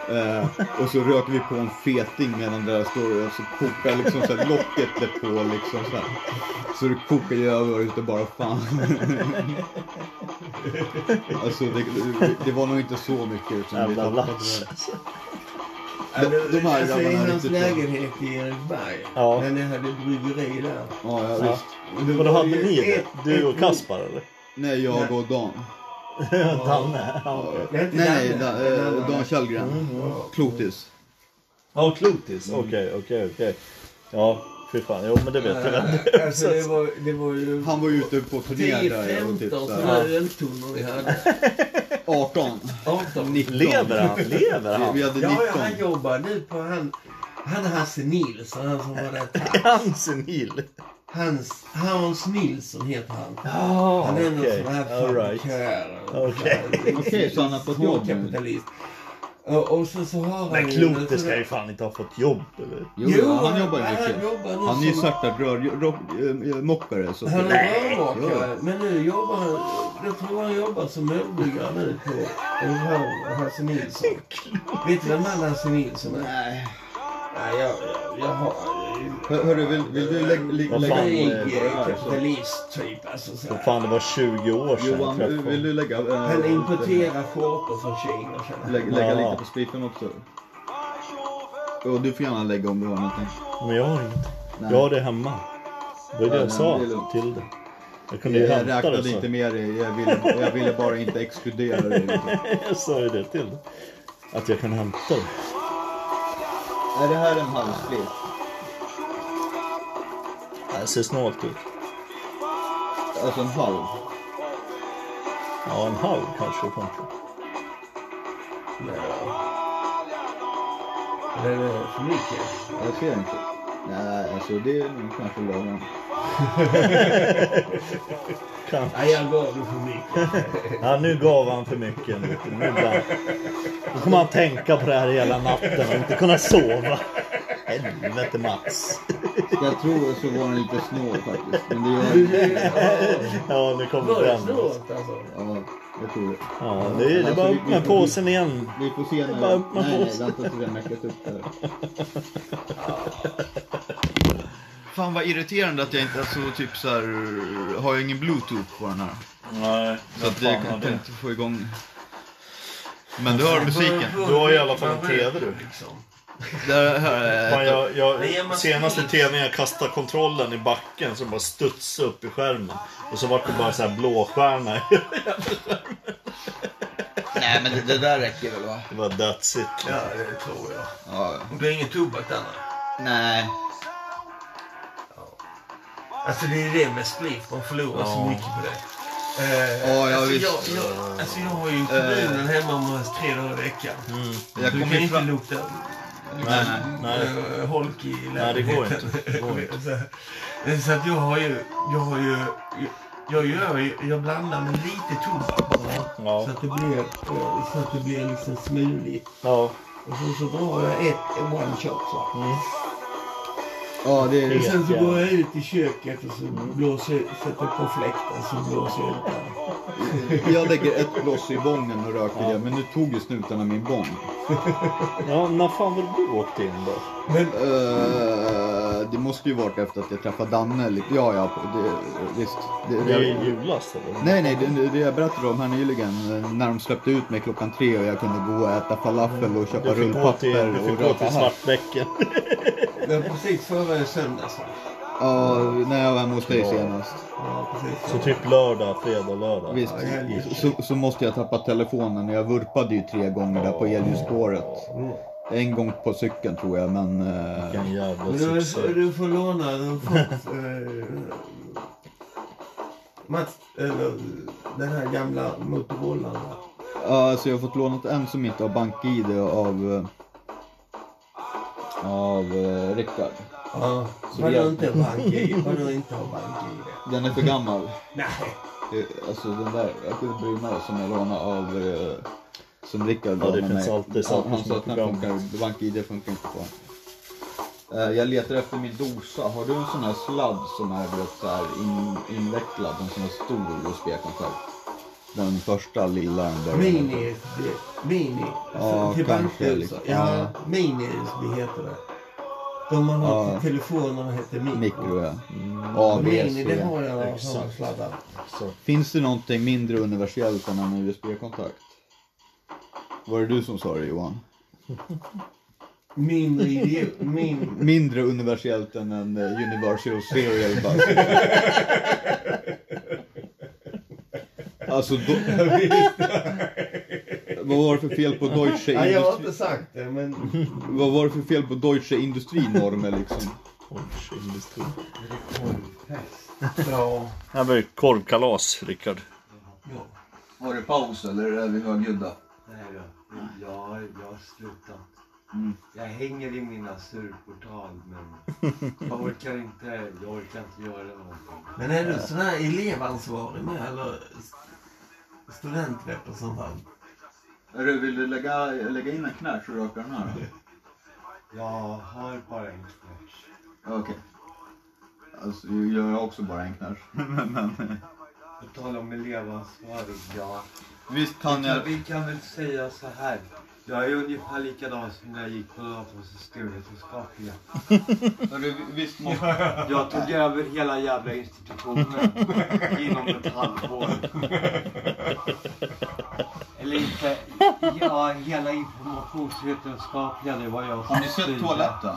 [SPEAKER 2] Eh, och så röker vi på en feting medan det där står och så kokar liksom så här locket på liksom så här. Så det kokar ju över ute bara fan. Alltså det, det var nog inte så mycket utan vi
[SPEAKER 3] Jävla
[SPEAKER 2] tappade
[SPEAKER 3] lattjo.
[SPEAKER 2] det. de- de här
[SPEAKER 1] alltså, i
[SPEAKER 2] grabbarna är
[SPEAKER 1] hans
[SPEAKER 2] riktigt bra.
[SPEAKER 1] lägenhet i Eriksberg.
[SPEAKER 3] Ja.
[SPEAKER 1] När ni hade bryggeri där.
[SPEAKER 2] Ja, ja,
[SPEAKER 3] Ja.
[SPEAKER 2] visst.
[SPEAKER 3] Men då
[SPEAKER 1] var
[SPEAKER 3] hade
[SPEAKER 1] ju
[SPEAKER 3] ni det?
[SPEAKER 1] ett-
[SPEAKER 3] Du och
[SPEAKER 1] ett-
[SPEAKER 3] Kaspar eller?
[SPEAKER 2] Nej, jag och Dan.
[SPEAKER 3] Danne? Ja, okej.
[SPEAKER 1] Det är
[SPEAKER 2] Nej,
[SPEAKER 1] inte
[SPEAKER 2] mm. nej,
[SPEAKER 1] Danne,
[SPEAKER 2] Dan,
[SPEAKER 1] det är en
[SPEAKER 2] eh,
[SPEAKER 1] annan.
[SPEAKER 2] Dan Källgren. Klotis.
[SPEAKER 3] Ja, Klotis. Okej, okej, okej. Ja, fy fan. Jo, men det vet jag väl.
[SPEAKER 1] Eh, Alltså det var, det var ju...
[SPEAKER 2] Han var ju ute på turné där och
[SPEAKER 1] 10-15
[SPEAKER 2] typ så
[SPEAKER 1] sådana
[SPEAKER 2] här,
[SPEAKER 1] öltunnor vi hade.
[SPEAKER 2] 18.
[SPEAKER 1] 18.
[SPEAKER 2] 19.
[SPEAKER 3] Lever han? Lever
[SPEAKER 2] Vi-
[SPEAKER 3] han?
[SPEAKER 2] Vi hade
[SPEAKER 1] Ja, ja, han
[SPEAKER 2] 19.
[SPEAKER 1] jobbar nu på han... Han Hasse Nilsson, han som var där.
[SPEAKER 3] Är han senil?
[SPEAKER 1] Hans, Hans Nilsson heter han.
[SPEAKER 3] Ja,
[SPEAKER 1] Han är en
[SPEAKER 3] okej.
[SPEAKER 1] sån här
[SPEAKER 3] All right.
[SPEAKER 1] fabrikör.
[SPEAKER 3] Okej.
[SPEAKER 2] Okej, så han har fått jobb nu.
[SPEAKER 1] Småkapitalist. Och, och sen så har han
[SPEAKER 3] Men
[SPEAKER 1] ju-
[SPEAKER 3] klokt, det ska ju fan inte ha fått jobb eller?
[SPEAKER 2] Jo, han jobbar ju
[SPEAKER 1] han
[SPEAKER 2] mycket.
[SPEAKER 1] jobbar nu
[SPEAKER 2] Han är ju
[SPEAKER 1] som-
[SPEAKER 2] svärtad rörmokare. eh, Så att-
[SPEAKER 1] Han är rörmokare,
[SPEAKER 2] Ja.
[SPEAKER 1] men nu jobbar han... Jag tror han jobbar som möbelbyggare nu på en här Hasse Nilsson. Vet du vem han Hasse Nilsson är?
[SPEAKER 2] Nej.
[SPEAKER 1] Nej, jag, jag, jag har...
[SPEAKER 2] Hör- Hörru, vill, vill du lägga lä,
[SPEAKER 3] Vad
[SPEAKER 2] lägga
[SPEAKER 3] fan,
[SPEAKER 1] Rig,
[SPEAKER 2] på det
[SPEAKER 1] eh,
[SPEAKER 2] här? så-
[SPEAKER 1] kapitalist typ. Alltså, så
[SPEAKER 3] För
[SPEAKER 1] här.
[SPEAKER 3] fan, det var 20 år sedan
[SPEAKER 2] Johan,
[SPEAKER 3] jag träffade
[SPEAKER 2] vill
[SPEAKER 3] honom.
[SPEAKER 2] du lägga... eh,
[SPEAKER 1] Han importerar skjortor från Kina. känner jag.
[SPEAKER 2] Lägga, lägga
[SPEAKER 3] Ja.
[SPEAKER 2] lite på spriten också. Och du får gärna lägga om du har någonting.
[SPEAKER 3] Men jag har inget.
[SPEAKER 2] Nej.
[SPEAKER 3] Jag har det hemma. Det var ju det
[SPEAKER 2] Ja,
[SPEAKER 3] jag
[SPEAKER 2] nej,
[SPEAKER 3] sa
[SPEAKER 2] det är lugnt.
[SPEAKER 3] till dig. Jag kunde ju
[SPEAKER 2] Jag
[SPEAKER 3] hämta det.
[SPEAKER 2] räknade
[SPEAKER 3] sa
[SPEAKER 2] inte
[SPEAKER 3] jag.
[SPEAKER 2] med dig. Jag ville, jag ville bara inte exkludera dig. liksom.
[SPEAKER 3] Jag sa ju det till dig. Att jag kunde hämta det.
[SPEAKER 2] Är det här en halvsplit?
[SPEAKER 3] Det ser snålt ut.
[SPEAKER 2] Alltså en halv?
[SPEAKER 3] Ja, en halv kanske funkar.
[SPEAKER 1] Men, ja. Men, eh, för mycket.
[SPEAKER 2] Jag ser inte. Nej, alltså det är nog kanske lagom.
[SPEAKER 3] Kan.
[SPEAKER 1] Nej, jag gav det för mycket.
[SPEAKER 3] Ja, nu gav han för mycket. Nu, nu bara... Då kommer han tänka på det här hela natten och inte kunna sova. Helvete Mats.
[SPEAKER 2] Jag tror så var den lite snål faktiskt. Men det gör
[SPEAKER 3] Ja, nu
[SPEAKER 1] Var
[SPEAKER 3] kommer
[SPEAKER 1] det
[SPEAKER 3] den.
[SPEAKER 1] snålt alltså?
[SPEAKER 2] Ja, jag tror det. Alltså,
[SPEAKER 3] Ja, det är, det är bara upp med påsen igen.
[SPEAKER 2] Vi får se när...
[SPEAKER 3] Bara öppna
[SPEAKER 2] nej, nej,
[SPEAKER 3] påsen.
[SPEAKER 2] vänta tills vi har meckat upp det här. Fan vad irriterande att jag inte, alltså typ så här, har jag ingen bluetooth på den här.
[SPEAKER 3] Nej,
[SPEAKER 2] Så att jag kan inte få igång. Men du hör musiken.
[SPEAKER 3] Du har i alla fall en TV, du.
[SPEAKER 1] Liksom.
[SPEAKER 2] Där, här,
[SPEAKER 3] Fan,
[SPEAKER 2] jag...
[SPEAKER 3] jag, jag, senaste tvn jag kastade kontrollen i backen så bara studsade upp i skärmen. Och så vart det bara så här blåstjärna.
[SPEAKER 2] Nej men det, det där räcker väl va?
[SPEAKER 3] Det var that's it.
[SPEAKER 1] Ja, det tror jag.
[SPEAKER 2] Ja.
[SPEAKER 1] Och det är ingen tobak där nej.
[SPEAKER 2] Nej.
[SPEAKER 1] Alltså det är det med split, man förlorar så mycket på det. Eh,
[SPEAKER 2] Ja, ja,
[SPEAKER 1] alltså,
[SPEAKER 2] visst.
[SPEAKER 1] jag, jag, alltså jag har ju
[SPEAKER 3] Eh.
[SPEAKER 1] kommunen hemma om oss tre dagar i veckan.
[SPEAKER 2] Jag
[SPEAKER 1] du
[SPEAKER 2] kom
[SPEAKER 1] kan
[SPEAKER 2] ju
[SPEAKER 1] inte
[SPEAKER 2] fram...
[SPEAKER 1] lukta
[SPEAKER 2] Nej, nej.
[SPEAKER 3] Nej.
[SPEAKER 1] eh, holk i
[SPEAKER 3] Nej, det går
[SPEAKER 1] lägenheten.
[SPEAKER 3] inte. Det går inte.
[SPEAKER 1] Så- Så att jag har ju, jag har ju, jag gör ju, jag blandar med lite tobak bara.
[SPEAKER 3] Ja.
[SPEAKER 1] Så att det blir, eh, så att det blir liksom smuligt.
[SPEAKER 3] Ja.
[SPEAKER 1] Och sen så drar jag ett, en one shot så. här.
[SPEAKER 3] Mm.
[SPEAKER 2] Ja det är...
[SPEAKER 1] Och sen så går jag ut i köket och så blåser jag, sätter på fläkten så blåser jag ut den.
[SPEAKER 2] Jag lägger ett bloss i bången och röker det. Men nu tog ju snutarna min bång.
[SPEAKER 3] ja, när fan var du åkt in då?
[SPEAKER 2] Eh, det måste ju varit efter att jag träffade Danne lite. Ja, ja. Det, visst. Det,
[SPEAKER 3] Det är
[SPEAKER 2] jag,
[SPEAKER 3] ju julas eller?
[SPEAKER 2] nej, nej. Det, det jag berättade om här nyligen. eh, När de släppte ut mig klockan tre och jag kunde gå och äta falafel och köpa
[SPEAKER 3] Du fick gå till,
[SPEAKER 2] rullpapper
[SPEAKER 3] du
[SPEAKER 2] och
[SPEAKER 3] fick gå
[SPEAKER 2] röka
[SPEAKER 3] till
[SPEAKER 2] här.
[SPEAKER 3] Svartbäcken.
[SPEAKER 1] Det var precis förra söndags va?
[SPEAKER 2] Ja, när jag var hemma hos dig senast.
[SPEAKER 1] Ja, precis.
[SPEAKER 3] Så typ lördag, fredag, lördag.
[SPEAKER 2] Visst. Så, så måste jag tappa telefonen. Jag vurpade ju tre gånger där på elljusspåret.
[SPEAKER 1] Mm.
[SPEAKER 2] En gång på cykeln tror jag, men... eh,
[SPEAKER 3] Vilken jävla
[SPEAKER 1] Men Du,
[SPEAKER 3] succé.
[SPEAKER 1] du får låna den fort. eh, Mats, eller den här gamla Motorolan. va?
[SPEAKER 2] Ja, alltså jag har fått lånat en som inte har bank-id av... eh, Av eh, Rickard.
[SPEAKER 1] Ja.
[SPEAKER 2] Så
[SPEAKER 1] Har
[SPEAKER 2] vi har-
[SPEAKER 1] du inte bank-id? Har du inte har bank-id?
[SPEAKER 2] Den är för gammal.
[SPEAKER 1] Nej.
[SPEAKER 2] Eh, Alltså den där bruna som jag lånade av... eh, Som Rickard
[SPEAKER 3] Ja, det
[SPEAKER 2] lånade
[SPEAKER 3] finns
[SPEAKER 2] mig.
[SPEAKER 3] alltid
[SPEAKER 2] Han,
[SPEAKER 3] saker
[SPEAKER 2] han
[SPEAKER 3] som
[SPEAKER 2] sa
[SPEAKER 3] är
[SPEAKER 2] att den
[SPEAKER 3] för
[SPEAKER 2] funkar, bank-id funkar inte på den. Eh, Jag letar efter min dosa. Har du en sån här sladd som är du vet, så här in, invecklad? En sån här stor USB-kontakt? Den första lilla den där.
[SPEAKER 1] Mini. det- Mini.
[SPEAKER 2] Ja,
[SPEAKER 1] Alltså, till
[SPEAKER 2] kanske,
[SPEAKER 1] bankhus.
[SPEAKER 2] liksom.
[SPEAKER 1] Ja, mini-USB heter det. De man har
[SPEAKER 2] Ja.
[SPEAKER 1] till telefonerna heter mikro.
[SPEAKER 2] Mikro ja.
[SPEAKER 1] Och mini, det
[SPEAKER 2] AVC.
[SPEAKER 1] har jag av sådana
[SPEAKER 3] Exakt.
[SPEAKER 1] sladdar.
[SPEAKER 3] Mm. Så.
[SPEAKER 2] Finns det någonting mindre universellt än en USB-kontakt? Var det du som sa det Johan?
[SPEAKER 1] Mindre idiot. Min...
[SPEAKER 2] Mindre universellt än en eh, Universal Serial Bus. alltså, do... vad var det för fel på Deutsche
[SPEAKER 1] Nej, jag har
[SPEAKER 2] Industri...
[SPEAKER 1] inte sagt det, men...
[SPEAKER 2] Vad var det för fel på Deutsche Industrienormer liksom?
[SPEAKER 3] Korvindustri.
[SPEAKER 1] Ja.
[SPEAKER 3] Här var ju korvkalas, Rickard.
[SPEAKER 2] Var det paus eller är vi högljudda?
[SPEAKER 6] Nej då. Ja, jag har slutat.
[SPEAKER 2] Mm.
[SPEAKER 6] Jag hänger i mina surportal men jag orkar inte, jag orkar inte göra någonting.
[SPEAKER 1] Men är du sån här elevansvarig med, eller s- studentrepresentant?
[SPEAKER 4] Är du- Vill du lägga, lägga in en knäck så röker den här? då?
[SPEAKER 6] Jag har bara en knäck.
[SPEAKER 4] Ja, Okej. Alltså, jag har också bara en knäck. men, men,
[SPEAKER 6] På tal om elevansvarig, ja.
[SPEAKER 4] visst kan
[SPEAKER 6] ja.
[SPEAKER 4] jag...
[SPEAKER 6] Vi kan väl säga så här. Jag är ungefär likadan som när jag gick på naturvetenskapliga.
[SPEAKER 4] Du, visst måste...
[SPEAKER 6] Jag tog över hela jävla institutionen inom ett halvår. Eller inte, ja hela informationsvetenskapliga det var jag som
[SPEAKER 4] Har ni sett
[SPEAKER 6] styrde.
[SPEAKER 4] toaletten?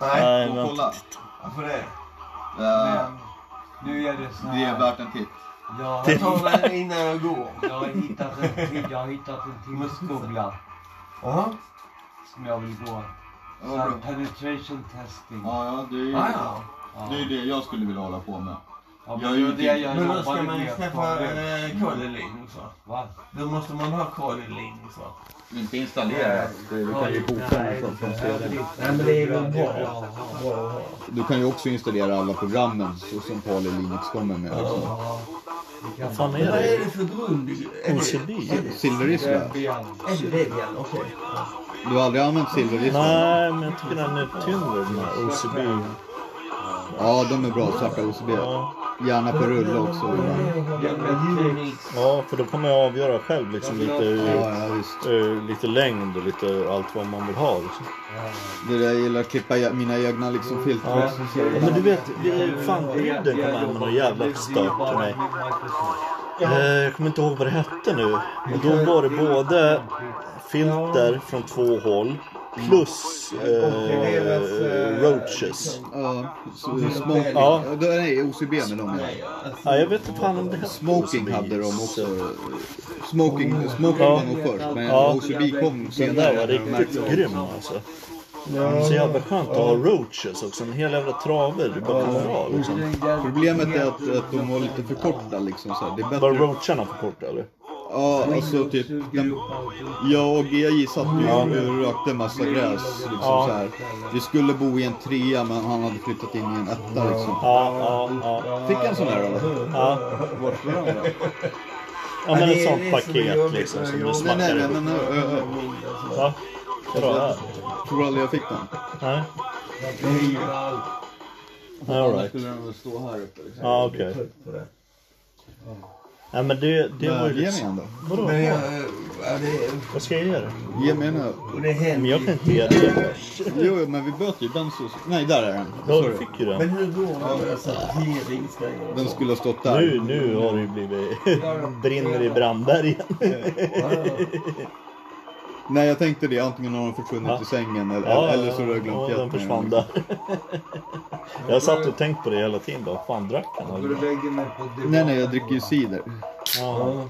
[SPEAKER 6] Nej,
[SPEAKER 4] Gå och kolla.
[SPEAKER 6] varför det?
[SPEAKER 4] Eh,
[SPEAKER 6] Men nu är det så
[SPEAKER 4] det är
[SPEAKER 6] här.
[SPEAKER 4] värt en titt.
[SPEAKER 6] Jag har,
[SPEAKER 1] Jag tar den innan jag går.
[SPEAKER 6] jag har hittat en till, jag har hittat en till skola
[SPEAKER 1] Jaha.
[SPEAKER 6] som jag vill gå.
[SPEAKER 4] Ja,
[SPEAKER 6] Så
[SPEAKER 4] vad bra.
[SPEAKER 6] här, penetration testing.
[SPEAKER 4] Ja, ja, det är ju
[SPEAKER 1] Ah, ja.
[SPEAKER 6] Ja.
[SPEAKER 4] det, är ju det jag skulle vilja hålla på med.
[SPEAKER 6] Ja,
[SPEAKER 4] Jag
[SPEAKER 6] men det är
[SPEAKER 4] gör
[SPEAKER 6] det
[SPEAKER 4] ju-
[SPEAKER 6] jag
[SPEAKER 1] Men då
[SPEAKER 6] jobbade
[SPEAKER 1] ska man
[SPEAKER 6] med.
[SPEAKER 1] skaffa eh, kolelin och så.
[SPEAKER 6] Va?
[SPEAKER 1] Då måste man ha kolelin och så.
[SPEAKER 4] Inte installerat.
[SPEAKER 2] Du kan ju boka den så att de ser det.
[SPEAKER 1] Nej men det är väl bra. bra att ha.
[SPEAKER 2] Du kan ju också installera alla programmen så som Kali Linux kommer med. Liksom.
[SPEAKER 3] Vad fan är
[SPEAKER 1] Vad är
[SPEAKER 3] det?
[SPEAKER 1] det för grund? Är det-
[SPEAKER 3] OCD?
[SPEAKER 1] Är det-
[SPEAKER 2] Silverisla.
[SPEAKER 1] är det det vi gäller? Okej.
[SPEAKER 2] Du har aldrig använt Silverisla?
[SPEAKER 3] Nej, men jag tycker den är tyngre den här OCB.
[SPEAKER 2] Ja, de är bra. Svarta OCB.
[SPEAKER 3] Ja.
[SPEAKER 2] Gärna på rulle också. ibland.
[SPEAKER 3] ja, för då kommer jag avgöra själv liksom lite,
[SPEAKER 2] Ja, ja, visst.
[SPEAKER 3] eh, lite längd och lite allt vad man vill ha. Liksom.
[SPEAKER 2] Det där jag gillar att klippa ja- mina egna liksom filter.
[SPEAKER 3] Ja. men du vet, vi- fan bruden kom hem med någon jävla stök till mig. Eh, Jag kommer inte ihåg vad det hette nu. Men då var det både filter från två håll plus eh, roaches.
[SPEAKER 2] Ja, så- smoking.
[SPEAKER 3] Ja.
[SPEAKER 2] Ja, det- Nej, OCB med dem. ja.
[SPEAKER 3] Ja, jag vet inte fan om det hette
[SPEAKER 2] Smoking
[SPEAKER 3] OCB.
[SPEAKER 2] hade de också. Smoking, smoking
[SPEAKER 3] Ja.
[SPEAKER 2] var nog först, men
[SPEAKER 3] Ja.
[SPEAKER 2] OCB kom
[SPEAKER 3] Den där
[SPEAKER 2] senare.
[SPEAKER 3] var riktigt grym alltså. Så jävla skönt att ha roaches också. En hel jävla trave du bara kan dra liksom.
[SPEAKER 2] Problemet är att, att de var lite för korta liksom. Så här. Det är
[SPEAKER 3] Var
[SPEAKER 2] bättre.
[SPEAKER 3] roacharna för korta eller?
[SPEAKER 2] Ja, alltså typ. Den, jag och GJ satt ju och rökte massa gräs. Liksom,
[SPEAKER 3] Ja.
[SPEAKER 2] så här. Vi skulle bo i en trea men han hade flyttat in i en etta liksom.
[SPEAKER 3] Ja, ja, ja.
[SPEAKER 2] Fick en sån där eller?
[SPEAKER 3] Ja,
[SPEAKER 2] Vart var den då?
[SPEAKER 3] ja men
[SPEAKER 1] det
[SPEAKER 3] ett
[SPEAKER 1] är
[SPEAKER 3] sånt
[SPEAKER 1] det som är
[SPEAKER 3] paket
[SPEAKER 1] jobbigt
[SPEAKER 3] liksom
[SPEAKER 1] med
[SPEAKER 3] som du
[SPEAKER 1] jobb.
[SPEAKER 2] Nej, nej,
[SPEAKER 3] smackar
[SPEAKER 2] nej,
[SPEAKER 3] ihop.
[SPEAKER 2] nej, nej, ö, ö.
[SPEAKER 3] Va? Vadå? här?
[SPEAKER 2] eh, Tror du aldrig jag fick den?
[SPEAKER 3] Nej? Alright.
[SPEAKER 2] Skulle den väl stå här uppe liksom.
[SPEAKER 3] Ja, okej. Nej men det, det var
[SPEAKER 2] Men,
[SPEAKER 3] ju
[SPEAKER 2] Ge
[SPEAKER 3] lite...
[SPEAKER 2] mig en då.
[SPEAKER 3] Vadå?
[SPEAKER 1] Men jag... Ja, det,
[SPEAKER 3] Vad ska jag ge dig?
[SPEAKER 2] Ge mig en ö.
[SPEAKER 1] det
[SPEAKER 3] Men
[SPEAKER 1] händer
[SPEAKER 3] jag
[SPEAKER 1] ju.
[SPEAKER 3] kan inte ge dig det.
[SPEAKER 2] Jo, jo, men vi böt ju den så... Nej, där är den.
[SPEAKER 3] Ja, du
[SPEAKER 2] Sorry.
[SPEAKER 3] fick ju
[SPEAKER 1] Men
[SPEAKER 3] den.
[SPEAKER 1] hur går det med dessa hearingsgrejer?
[SPEAKER 2] Den skulle ha stått där.
[SPEAKER 3] Nu, nu har det ju blivit... Brinner i brandbergen.
[SPEAKER 2] Nej, jag tänkte det. Antingen har de försvunnit
[SPEAKER 3] Ja.
[SPEAKER 2] i sängen eller,
[SPEAKER 3] Ja,
[SPEAKER 2] eller så har jag glömt
[SPEAKER 3] ja, den
[SPEAKER 2] jätten.
[SPEAKER 3] försvann där. Jag satt och tänkte på det hela tiden. Bara, fan drack han?
[SPEAKER 6] Går du
[SPEAKER 3] aldrig?
[SPEAKER 6] lägger mig på divan?
[SPEAKER 2] Nej, nej, jag dricker ju cider.
[SPEAKER 3] Ja.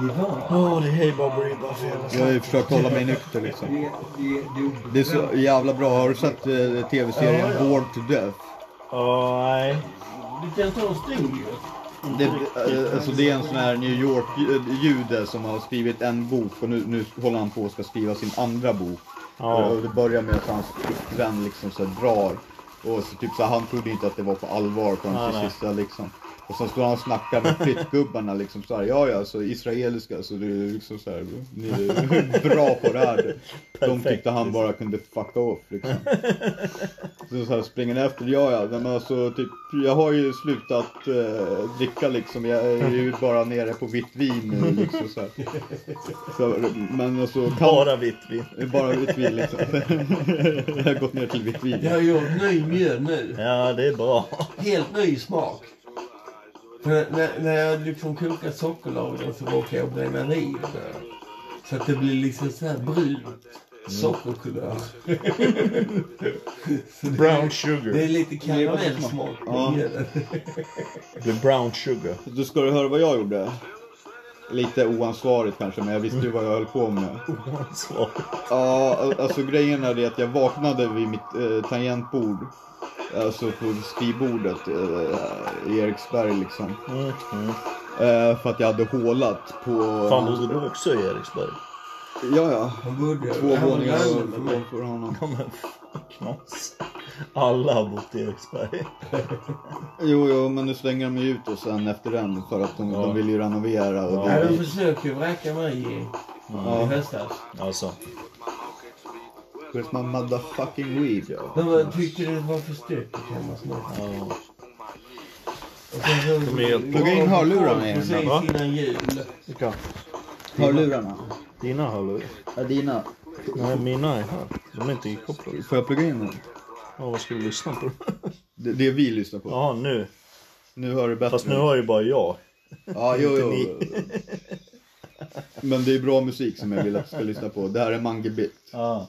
[SPEAKER 1] Divan?
[SPEAKER 3] Åh, det är Hey Bob Ribba för jävla
[SPEAKER 2] Jag har ju försökt hålla mig nykter liksom.
[SPEAKER 6] Det, det, det,
[SPEAKER 2] Det är så jävla bra. Har du sett eh, tv-serien Bored to Death?
[SPEAKER 3] Ja, nej.
[SPEAKER 1] Du kan ta en stol ju.
[SPEAKER 2] Det, eh, alltså, det är en sån här New York-jude som har skrivit en bok och nu, nu håller han på att ska skriva sin andra bok.
[SPEAKER 3] Ja.
[SPEAKER 2] Och det börjar med att hans vän liksom så här drar. Och så typ så här, han trodde inte att det var på allvar förrän
[SPEAKER 3] Nej,
[SPEAKER 2] till
[SPEAKER 3] nej.
[SPEAKER 2] sista liksom. Och sen står han och snackar med flyttgubbarna liksom så här, ja ja, så israeliska, så det är liksom så här, ni är bra på det här. De tyckte han bara kunde fucka off liksom. Så, så här springer han efter, ja ja, men alltså typ, jag har ju slutat eh, dricka liksom, jag är ju bara nere på vitt vin nu liksom så här. Så, men alltså, kan,
[SPEAKER 3] Bara vitt vin.
[SPEAKER 2] det är Bara vitt vin liksom. Jag har gått ner till vitt vin.
[SPEAKER 1] Jag har gjort ny mjöl nu.
[SPEAKER 3] Ja, det är bra.
[SPEAKER 1] Helt ny smak. För när, när jag liksom kokar sockerlagen så råkar jag bränna ner det. Så att det blir liksom så här brunt sockerkulör. så det,
[SPEAKER 3] Brown
[SPEAKER 1] det är
[SPEAKER 3] sugar.
[SPEAKER 1] lite karamellsmak
[SPEAKER 2] Ja.
[SPEAKER 1] på mjölen.
[SPEAKER 3] The brown sugar.
[SPEAKER 2] Du ska du höra vad jag gjorde? Lite oansvarigt kanske, men jag visste ju vad jag höll på med.
[SPEAKER 3] Svar.
[SPEAKER 2] Ja, alltså grejen är det att jag vaknade vid mitt eh, tangentbord. Alltså på skrivbordet eh, i Eriksberg liksom.
[SPEAKER 3] Mm, mm.
[SPEAKER 2] Eh, för att jag hade hålat på...
[SPEAKER 3] Fan, bodde du också i Eriksberg?
[SPEAKER 2] Ja, ja.
[SPEAKER 1] Han bodde
[SPEAKER 2] Två våningar ovanför honom.
[SPEAKER 3] Ja, men fan, knas. Alla har bott i Eriksberg.
[SPEAKER 2] Jo, jo, men nu slänger de ju ut och sen efter den för att de,
[SPEAKER 3] Ja.
[SPEAKER 2] de vill ju renovera. Och
[SPEAKER 1] Ja,
[SPEAKER 2] det,
[SPEAKER 1] de försöker ju vräka mig i, i höstas.
[SPEAKER 3] Alltså,
[SPEAKER 2] Where's my motherfucking weed? Ja.
[SPEAKER 1] De var- tyckte det var för stökigt hemma snart.
[SPEAKER 3] ja.
[SPEAKER 1] De
[SPEAKER 3] är helt-
[SPEAKER 2] Plugga in hörlurarna i den
[SPEAKER 1] Precis
[SPEAKER 2] där,
[SPEAKER 3] va?
[SPEAKER 1] innan jul.
[SPEAKER 3] Vilka?
[SPEAKER 2] Hörlurarna?
[SPEAKER 3] Dina hörlurar?
[SPEAKER 2] Ja, dina.
[SPEAKER 3] Nej, mina är här. De är inte inkopplade.
[SPEAKER 2] Får jag plugga in dem?
[SPEAKER 3] Ja, vad ska du lyssna på?
[SPEAKER 2] Det, det vi lyssnar på.
[SPEAKER 3] Ja, nu.
[SPEAKER 2] Nu hör du bättre.
[SPEAKER 3] Fast nu har ju bara jag.
[SPEAKER 2] Ja, jo,
[SPEAKER 3] Inte
[SPEAKER 2] jo. Men det är bra musik som jag vill att du ska lyssna på. Det här är Mangebit.
[SPEAKER 3] Ja.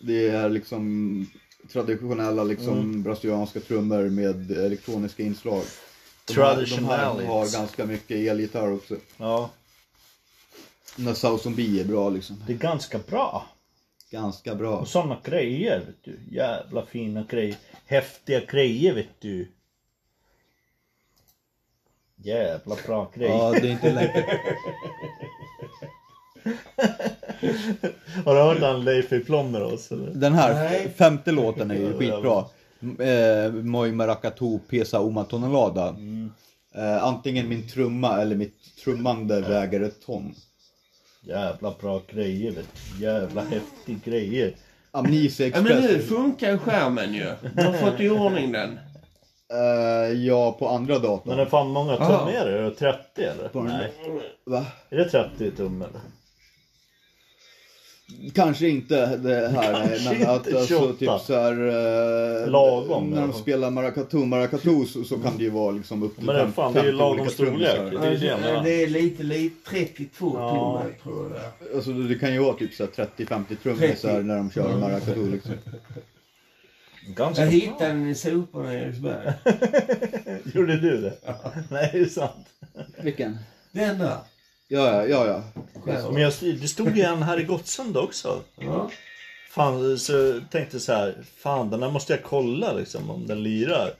[SPEAKER 2] Det är liksom traditionella liksom
[SPEAKER 3] Mm.
[SPEAKER 2] brasilianska trummor med elektroniska inslag. De här, de här
[SPEAKER 3] Traditionellt.
[SPEAKER 2] har
[SPEAKER 1] liksom.
[SPEAKER 2] ganska mycket elgitarr också.
[SPEAKER 3] ja.
[SPEAKER 2] När Sauson B är bra liksom.
[SPEAKER 3] Det är ganska bra.
[SPEAKER 2] Ganska bra.
[SPEAKER 3] Och sådana grejer, vet du. Jävla fina grejer. Häftiga grejer, vet du. Jävla bra grejer.
[SPEAKER 2] Ja, det är inte läckert.
[SPEAKER 3] Har du hört han Leif i Plommerås eller?
[SPEAKER 2] Den här
[SPEAKER 1] Nej.
[SPEAKER 2] femte låten är ju skitbra. Eh, Moi Maracatu Pesa Uma Tonelada.
[SPEAKER 1] Mm.
[SPEAKER 2] Eh, antingen min trumma eller mitt trummande väger ett ton.
[SPEAKER 3] Jävla bra grejer, vet du. Jävla häftiga grejer.
[SPEAKER 2] Amnesia
[SPEAKER 1] Ja, men nu
[SPEAKER 2] Express.
[SPEAKER 1] funkar skärmen ju. De har fått i ordning den.
[SPEAKER 2] Eh, ja, på andra
[SPEAKER 3] Men
[SPEAKER 2] datorn.
[SPEAKER 3] det fan många tum
[SPEAKER 1] Aha.
[SPEAKER 3] är det? Är det 30 eller? Nej.
[SPEAKER 2] Va?
[SPEAKER 3] Är det 30 tum eller?
[SPEAKER 2] Kanske inte det här.
[SPEAKER 3] Kanske
[SPEAKER 2] men att
[SPEAKER 3] inte
[SPEAKER 2] alltså,
[SPEAKER 3] 28.
[SPEAKER 2] typ så här, eh,
[SPEAKER 3] Lagom,
[SPEAKER 2] När
[SPEAKER 3] i alla
[SPEAKER 2] de
[SPEAKER 3] fall.
[SPEAKER 2] spelar maracatu, maracatu så, så kan det ju vara liksom upp till
[SPEAKER 3] Men det är
[SPEAKER 2] fem-
[SPEAKER 3] fan, det är ju
[SPEAKER 2] 50 olika
[SPEAKER 3] lagom storlek.
[SPEAKER 2] trummisar.
[SPEAKER 3] Det är ju det jag menar.
[SPEAKER 1] Det är lite, lite 32
[SPEAKER 3] Ja.
[SPEAKER 1] timmar tror jag det är.
[SPEAKER 2] Alltså, det kan ju vara typ så här 30-50 trummisar
[SPEAKER 1] 30.
[SPEAKER 2] när de
[SPEAKER 3] Mm.
[SPEAKER 2] kör maracatu liksom.
[SPEAKER 3] Ganska
[SPEAKER 1] Jag
[SPEAKER 3] bra.
[SPEAKER 1] hittade den i soporna i Eriksberg.
[SPEAKER 3] Gjorde du det? Nej, det är sant.
[SPEAKER 2] Vilken?
[SPEAKER 1] Den där.
[SPEAKER 2] Ja, ja, ja. ja.
[SPEAKER 3] Men jag, det stod ju en här i Gottsunda också.
[SPEAKER 1] Ja.
[SPEAKER 3] Fan, så jag tänkte så här, fan den här måste jag kolla liksom om den lirar.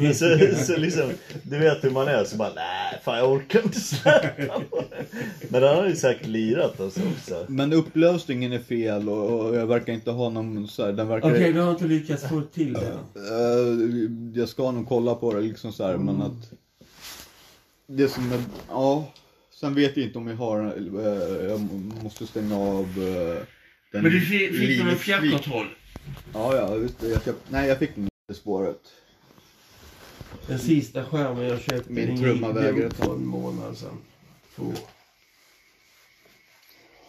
[SPEAKER 3] Men så, så liksom, du vet hur man är, så bara nej, fan jag orkar inte släppa på den." Men den har ju säkert lirat alltså också.
[SPEAKER 2] Men upplösningen är fel och, och jag verkar inte ha någon så här, den verkar...
[SPEAKER 1] Okej, du har inte lyckats få till den.
[SPEAKER 2] Eh, jag ska nog kolla på det liksom så här, men att... Det som är... Ja. Sen vet jag inte om jag har... eh, jag måste stänga av... eh, den Linux- Ja, ja. Just det, jag köpt, nej, jag fick inte spåret.
[SPEAKER 1] Den sista skärmen jag köpte
[SPEAKER 2] Min
[SPEAKER 1] den
[SPEAKER 2] trumma
[SPEAKER 1] gick
[SPEAKER 2] väger
[SPEAKER 1] dum
[SPEAKER 2] ett
[SPEAKER 1] för en månad sedan. Två.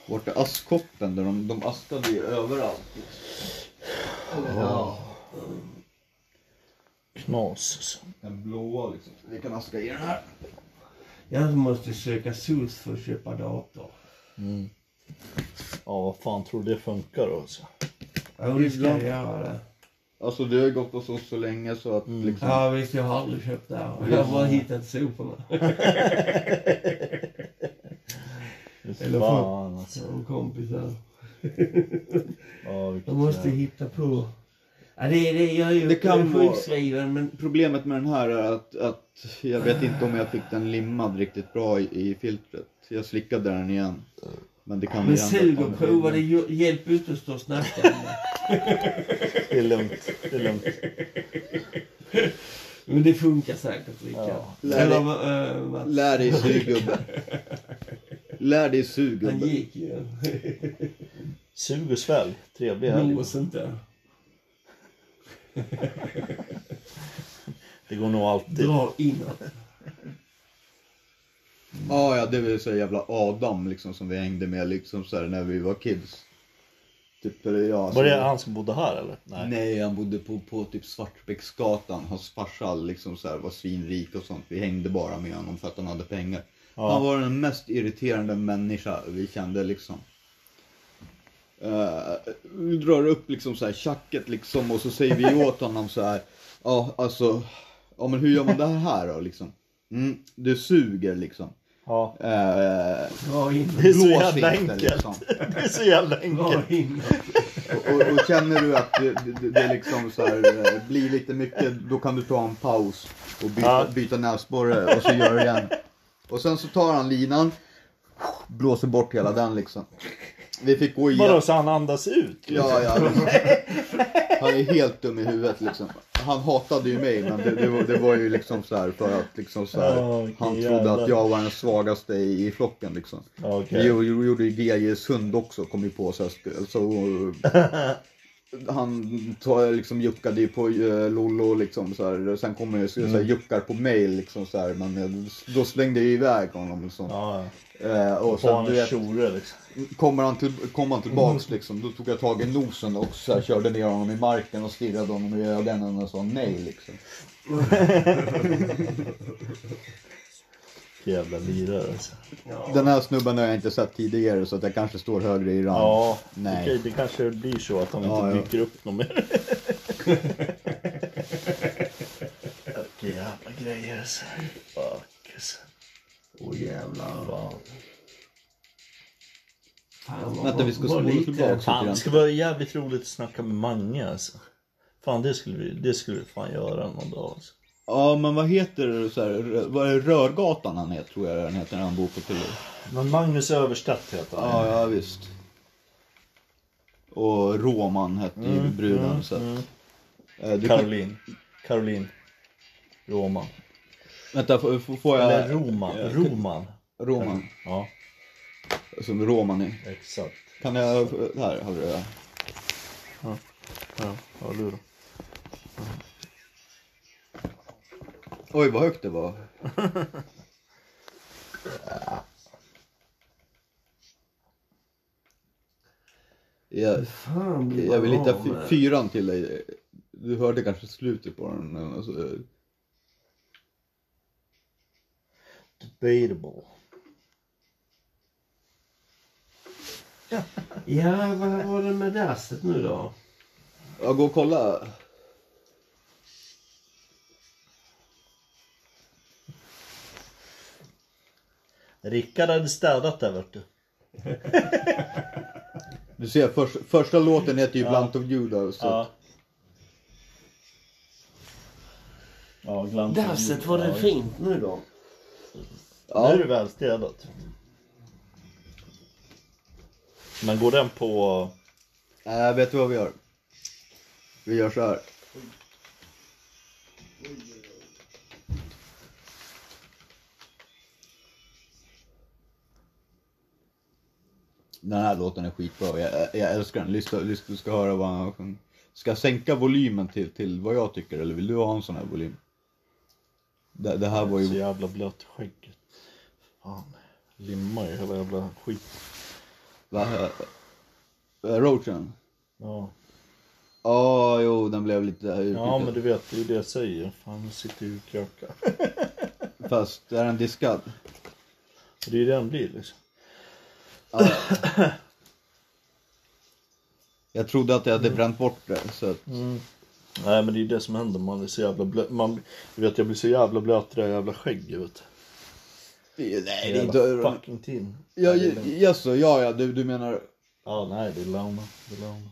[SPEAKER 2] Vart är askkoppen? Där de, de askade ju överallt. liksom.
[SPEAKER 3] Knas alltså.
[SPEAKER 2] Den blåa liksom. Vi kan aska i den här.
[SPEAKER 1] Jag måste söka SOS för att köpa dator.
[SPEAKER 3] Ja, vad fan tror du det funkar då alltså?
[SPEAKER 1] Ja, nu ska jag
[SPEAKER 2] Ibland-
[SPEAKER 1] göra det.
[SPEAKER 2] Alltså det har ju gått hos oss så länge så att liksom...
[SPEAKER 1] Ja, visst, jag har aldrig köpt det här. Jag har bara hittat soporna. Eller vad?
[SPEAKER 3] Fan alltså.
[SPEAKER 1] Som kompisar.
[SPEAKER 3] Ja, vilket
[SPEAKER 1] Jag måste
[SPEAKER 3] jävla-
[SPEAKER 1] hitta på. Ja, det, det, jag är ju
[SPEAKER 2] Det kan
[SPEAKER 1] jag är
[SPEAKER 2] vara-
[SPEAKER 1] sjukskriven, men...
[SPEAKER 2] Problemet med den här är att, att jag vet inte om jag fick den limmad riktigt bra i, i filtret. Jag slickade den igen. Men det kan
[SPEAKER 1] Men
[SPEAKER 2] ju hända att
[SPEAKER 1] sug
[SPEAKER 2] den
[SPEAKER 1] och
[SPEAKER 2] är
[SPEAKER 1] prova, det
[SPEAKER 2] limmad.
[SPEAKER 1] ju- hjälper ju inte att stå och snacka. om det.
[SPEAKER 3] Det är lugnt, det är lugnt.
[SPEAKER 1] Men det funkar säkert, Rickard.
[SPEAKER 3] Ja.
[SPEAKER 1] Eller vad... Uh, vad
[SPEAKER 2] Lär dig sug gubbe. Lär dig sug
[SPEAKER 1] han
[SPEAKER 2] gubbe.
[SPEAKER 1] gick ju.
[SPEAKER 3] Sug och svälj, trevlig helg.
[SPEAKER 1] Blås inte.
[SPEAKER 3] Det går nog alltid.
[SPEAKER 1] Dra inåt.
[SPEAKER 2] Ja, ja, det var så jävla Adam liksom som vi hängde med liksom så här när vi var kids. Typ, eller ja.
[SPEAKER 3] Var det
[SPEAKER 2] så-
[SPEAKER 3] han som bodde här eller?
[SPEAKER 2] Nej, han bodde på, på typ Svartbäcksgatan. Hans farsa liksom så här, var svinrik och sånt. Vi hängde bara med honom för att han hade pengar.
[SPEAKER 3] Ja.
[SPEAKER 2] Han var den mest irriterande människa vi kände liksom. Eh, vi drar upp liksom så här tjacket liksom och så säger vi åt honom så här. Ja, alltså. Ja, men hur gör man det här då liksom? Mm, du suger liksom.
[SPEAKER 3] Ja.
[SPEAKER 2] Eh,
[SPEAKER 1] Dra inåt.
[SPEAKER 3] Det är så
[SPEAKER 2] Blås
[SPEAKER 3] jävla
[SPEAKER 2] inte,
[SPEAKER 3] enkelt.
[SPEAKER 2] liksom.
[SPEAKER 3] Det är så jävla
[SPEAKER 1] Dra
[SPEAKER 3] enkelt.
[SPEAKER 1] inåt.
[SPEAKER 2] Och, och känner du att det, det, det liksom så här, eh, blir lite mycket, då kan du ta en paus och byta,
[SPEAKER 3] Ja.
[SPEAKER 2] byta näsborre och så gör du igen. Och sen så tar han linan, blåser bort hela den liksom. Vi fick gå igen.
[SPEAKER 3] Vadå, så han andas ut?
[SPEAKER 2] Ja, ja. Han är helt dum i huvudet liksom. Han hatade ju mig men det, det, var, det var ju liksom så här för att liksom så här,
[SPEAKER 3] Ja, vilken
[SPEAKER 2] Han trodde
[SPEAKER 3] jävla-
[SPEAKER 2] att jag var den svagaste i, i flocken liksom.
[SPEAKER 3] Okej.
[SPEAKER 2] Vi gjorde- gjorde ju GJs hund också, kom ju på så här spel. Så, eh, han tar, liksom, juckade ju på eh, Lollo liksom så här. Sen kommer det så här,
[SPEAKER 3] Mm.
[SPEAKER 2] juckar på mig liksom så här. Men eh, då slängde jag iväg honom liksom.
[SPEAKER 3] Ja, ja.
[SPEAKER 2] Eh, och sen du
[SPEAKER 3] Barnens
[SPEAKER 2] vet,
[SPEAKER 3] tjore liksom.
[SPEAKER 2] kommer han, till, kom han tillbaks liksom. Då tog jag tag i nosen och så här, körde ner honom i marken och stirrade honom i ögonen och sa nej liksom.
[SPEAKER 3] Vilken Jävla lirare alltså.
[SPEAKER 2] Den här snubben har jag inte sett tidigare så att jag kanske står högre i rang.
[SPEAKER 3] Ja,
[SPEAKER 2] Nej.
[SPEAKER 3] Mm. okej, det kanske blir så att han
[SPEAKER 2] Ja,
[SPEAKER 3] inte
[SPEAKER 2] ja.
[SPEAKER 3] dyker upp någon mer. Vilka jävla grejer alltså. Fuck alltså.
[SPEAKER 1] Åh jävlar.
[SPEAKER 3] Fan.
[SPEAKER 1] Fan, vad-
[SPEAKER 2] Vänta vi ska
[SPEAKER 1] vad
[SPEAKER 2] spola
[SPEAKER 1] lite-
[SPEAKER 2] tillbaks lite
[SPEAKER 3] Fan, det
[SPEAKER 2] grann.
[SPEAKER 3] skulle vara jävligt roligt att snacka med Mange alltså. Fan, det skulle vi, det skulle vi fan göra någon dag alltså.
[SPEAKER 2] Ja men vad heter det så här, rö- vad är Rörgatan han heter tror jag den heter när han bor på Tullur.
[SPEAKER 3] Men Magnus Överstedt heter han.
[SPEAKER 2] Ja, ja visst. Och Roman hette ju bruden så att. Eh, Du kan,
[SPEAKER 3] Caroline. Caroline. Roman.
[SPEAKER 2] vänta f- f- får jag?
[SPEAKER 3] Eller Roman.
[SPEAKER 2] jag-
[SPEAKER 3] Roman.
[SPEAKER 2] Roman.
[SPEAKER 3] Ja,
[SPEAKER 2] Som Roman är.
[SPEAKER 3] exakt.
[SPEAKER 2] Kan jag, f- här har du det.
[SPEAKER 3] Ja, ja du då?
[SPEAKER 2] Oj vad högt det var. Jag,
[SPEAKER 1] Fan, blir
[SPEAKER 2] jag vill
[SPEAKER 1] man
[SPEAKER 2] hitta
[SPEAKER 1] av med-
[SPEAKER 2] fy- fyran till dig. Du hörde kanske slutet på den. men Alltså, eh,
[SPEAKER 3] Debatable.
[SPEAKER 1] Ja, vad var det med dasset nu då?
[SPEAKER 2] Ja, gå och kolla.
[SPEAKER 3] Rickard hade städat där vart du.
[SPEAKER 2] Du ser, förs- första låten heter ju Blunt of Judah. Så
[SPEAKER 3] Ja. Ja, glansen.
[SPEAKER 1] Dasset, var det
[SPEAKER 3] Ja,
[SPEAKER 1] fint nu då?
[SPEAKER 3] Nu är det välstädat. Men går den på...
[SPEAKER 2] Nej, vet du vad vi gör? Vi gör så här. Den här låten är skitbra, jag, jag älskar den. Lyssna, lyssna, du ska höra vad han sjunger. Ska jag sänka volymen till, till vad jag tycker eller vill du ha en sån här volym? Det, det här var
[SPEAKER 3] Så
[SPEAKER 2] ju...
[SPEAKER 3] jävla blöt i skägget. Fan. Limmar ju hela jävla skit.
[SPEAKER 2] Va, äh, Roachen?
[SPEAKER 3] Ja.
[SPEAKER 2] Ja, jo den blev lite...
[SPEAKER 3] ja, men du vet, det är ju det jag säger. Fan, nu sitter ju och krökar.
[SPEAKER 2] Fast är den diskad?
[SPEAKER 3] Det är ju det den blir liksom.
[SPEAKER 2] Jag trodde att jag
[SPEAKER 3] Mm.
[SPEAKER 2] hade bränt bort det. Så att,
[SPEAKER 3] Nej, men det är ju det som händer. Man är så jävla blöt. Man... Du vet, jag blir så jävla blöt i det här jävla skägget. Vet.
[SPEAKER 2] Nej, det
[SPEAKER 3] du.
[SPEAKER 2] är
[SPEAKER 3] Jävla
[SPEAKER 2] inte öronen.
[SPEAKER 3] fucking tin.
[SPEAKER 2] Ja,
[SPEAKER 3] Nej, det är
[SPEAKER 2] ju-
[SPEAKER 3] lugnt.
[SPEAKER 2] jaså, ja, ja, du, du menar...
[SPEAKER 3] Ja, nej, det är Launa. Det är Launa.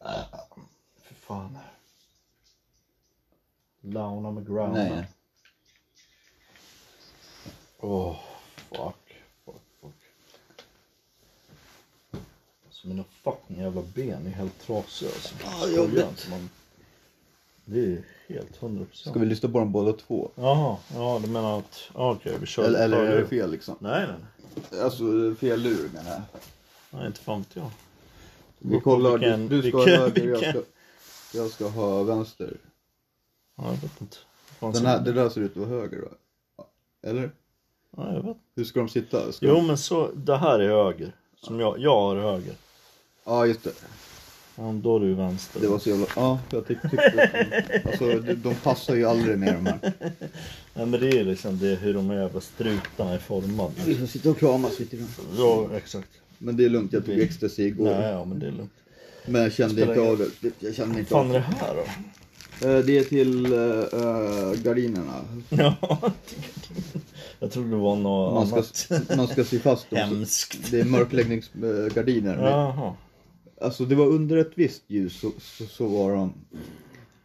[SPEAKER 3] Äh, Fy fan. Launa med Grauna.
[SPEAKER 2] Nej.
[SPEAKER 3] Åh, fuck. Fuck, fuck. Alltså mina fucking jävla ben är helt trasiga alltså.
[SPEAKER 2] Ja, jag
[SPEAKER 3] Skojar
[SPEAKER 2] vet.
[SPEAKER 3] inte, man- Det är helt hundra
[SPEAKER 2] Ska vi
[SPEAKER 3] procent.
[SPEAKER 2] lyssna på dem båda två?
[SPEAKER 3] Jaha, ja du menar att... ja, Okej, vi kör.
[SPEAKER 2] Eller, eller är det
[SPEAKER 3] Nej,
[SPEAKER 2] fel liksom?
[SPEAKER 3] nej, nej.
[SPEAKER 2] Alltså fel lur menar jag.
[SPEAKER 3] Nej, inte fan vet jag.
[SPEAKER 2] Vi kollar,
[SPEAKER 3] Vilken-
[SPEAKER 2] du, du ska
[SPEAKER 3] vilken-
[SPEAKER 2] ha höger, jag ska,
[SPEAKER 3] vilken-
[SPEAKER 2] jag ska ha vänster.
[SPEAKER 3] Ja, jag vet inte. Fan,
[SPEAKER 2] Den
[SPEAKER 3] ska-
[SPEAKER 2] här, det där ser ut att vara höger va? Eller?
[SPEAKER 3] Ja, jag vet
[SPEAKER 2] Hur ska de sitta? Ska
[SPEAKER 3] Jo
[SPEAKER 2] de-
[SPEAKER 3] men så, det här är höger. Som jag, jag har höger.
[SPEAKER 2] Ja just det.
[SPEAKER 3] Ja, men då är du vänster.
[SPEAKER 2] Det var så jävla... Ja, jag tyck, tyckte... att de- Alltså de, de passar ju aldrig ner de här.
[SPEAKER 3] Nej men det är liksom det, hur de här jävla strutarna är formade.
[SPEAKER 2] Vi får sitta och kramas lite grann.
[SPEAKER 3] Ja exakt.
[SPEAKER 2] Men det är lugnt, jag tog ecstasy igår.
[SPEAKER 3] Mm. Nej ja men det är lugnt.
[SPEAKER 2] Men jag kände
[SPEAKER 3] Spelar
[SPEAKER 2] inte
[SPEAKER 3] ingen-
[SPEAKER 2] av det. Jag kände
[SPEAKER 3] Vad
[SPEAKER 2] inte av
[SPEAKER 3] fan är
[SPEAKER 2] det.
[SPEAKER 3] det här då?
[SPEAKER 2] Eh, Det är till uh, gardinerna.
[SPEAKER 3] Ja, jag trodde det var något
[SPEAKER 2] Man ska,
[SPEAKER 3] annat.
[SPEAKER 2] man ska sy fast dem.
[SPEAKER 3] Hemskt.
[SPEAKER 2] Det är mörkläggningsgardiner.
[SPEAKER 3] Jaha.
[SPEAKER 2] Alltså det var under ett visst ljus så, så, så var de...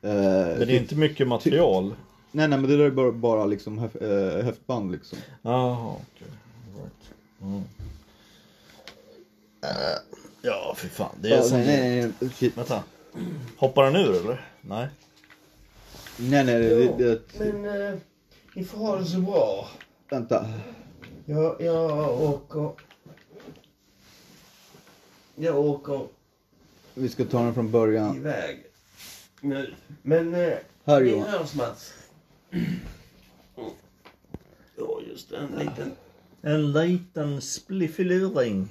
[SPEAKER 2] eh,
[SPEAKER 3] Men det är inte mycket material.
[SPEAKER 2] Nej nej men det där är bara, bara liksom häf, eh, häftband liksom.
[SPEAKER 3] Jaha okej. Right. Mm. Äh, Ja fy fan. Det är
[SPEAKER 2] Ja,
[SPEAKER 3] som...
[SPEAKER 2] nej, nej, nej, shit.
[SPEAKER 3] Vänta. Hoppar han ur eller? Nej.
[SPEAKER 2] Nej, nej,
[SPEAKER 1] Ja,
[SPEAKER 2] det, det,
[SPEAKER 1] men eh, ni får ha det så bra.
[SPEAKER 2] vänta.
[SPEAKER 1] Jag, jag åker... Jag åker
[SPEAKER 2] Vi ska ta den från början.
[SPEAKER 1] iväg nu. Men eh,
[SPEAKER 2] Här
[SPEAKER 1] vi
[SPEAKER 2] Johan.
[SPEAKER 1] hörs Mats. Ja, just det. En liten...
[SPEAKER 3] En liten spliffiluring.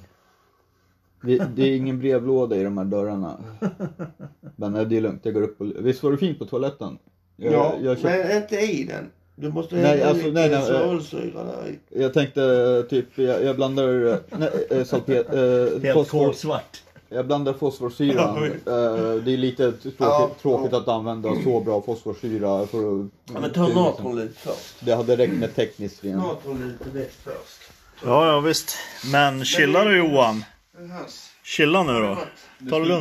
[SPEAKER 2] Vi, det är ingen brevlåda i de här dörrarna. Men nej, det är lugnt, jag går upp och... Visst var det fint på toaletten? Jag,
[SPEAKER 1] Ja,
[SPEAKER 2] jag, köpte-
[SPEAKER 1] men inte i den. Du måste
[SPEAKER 2] Nej,
[SPEAKER 1] hälla
[SPEAKER 2] alltså,
[SPEAKER 1] lite
[SPEAKER 2] nej, nej,
[SPEAKER 1] solsyra där i.
[SPEAKER 2] jag tänkte eh, typ, jag, jag blandar eh, nej, eh, salpet... Eh,
[SPEAKER 3] Helt
[SPEAKER 2] fosfor,
[SPEAKER 3] kolsvart.
[SPEAKER 2] jag blandar fosforsyran.
[SPEAKER 1] Ja,
[SPEAKER 2] Eh, det är lite tråkigt,
[SPEAKER 1] Ja,
[SPEAKER 2] tråkigt
[SPEAKER 1] ja.
[SPEAKER 2] att använda så bra fosforsyra för att...
[SPEAKER 1] Ja, men ta
[SPEAKER 2] liksom-
[SPEAKER 1] natronlid först.
[SPEAKER 2] Det hade räckt med tekniskt rent.
[SPEAKER 1] Natronlid är bäst först.
[SPEAKER 3] Ja, ja visst. Men chilla du Johan.
[SPEAKER 1] Det hörs.
[SPEAKER 3] Chilla nu då. Ta det lugnt.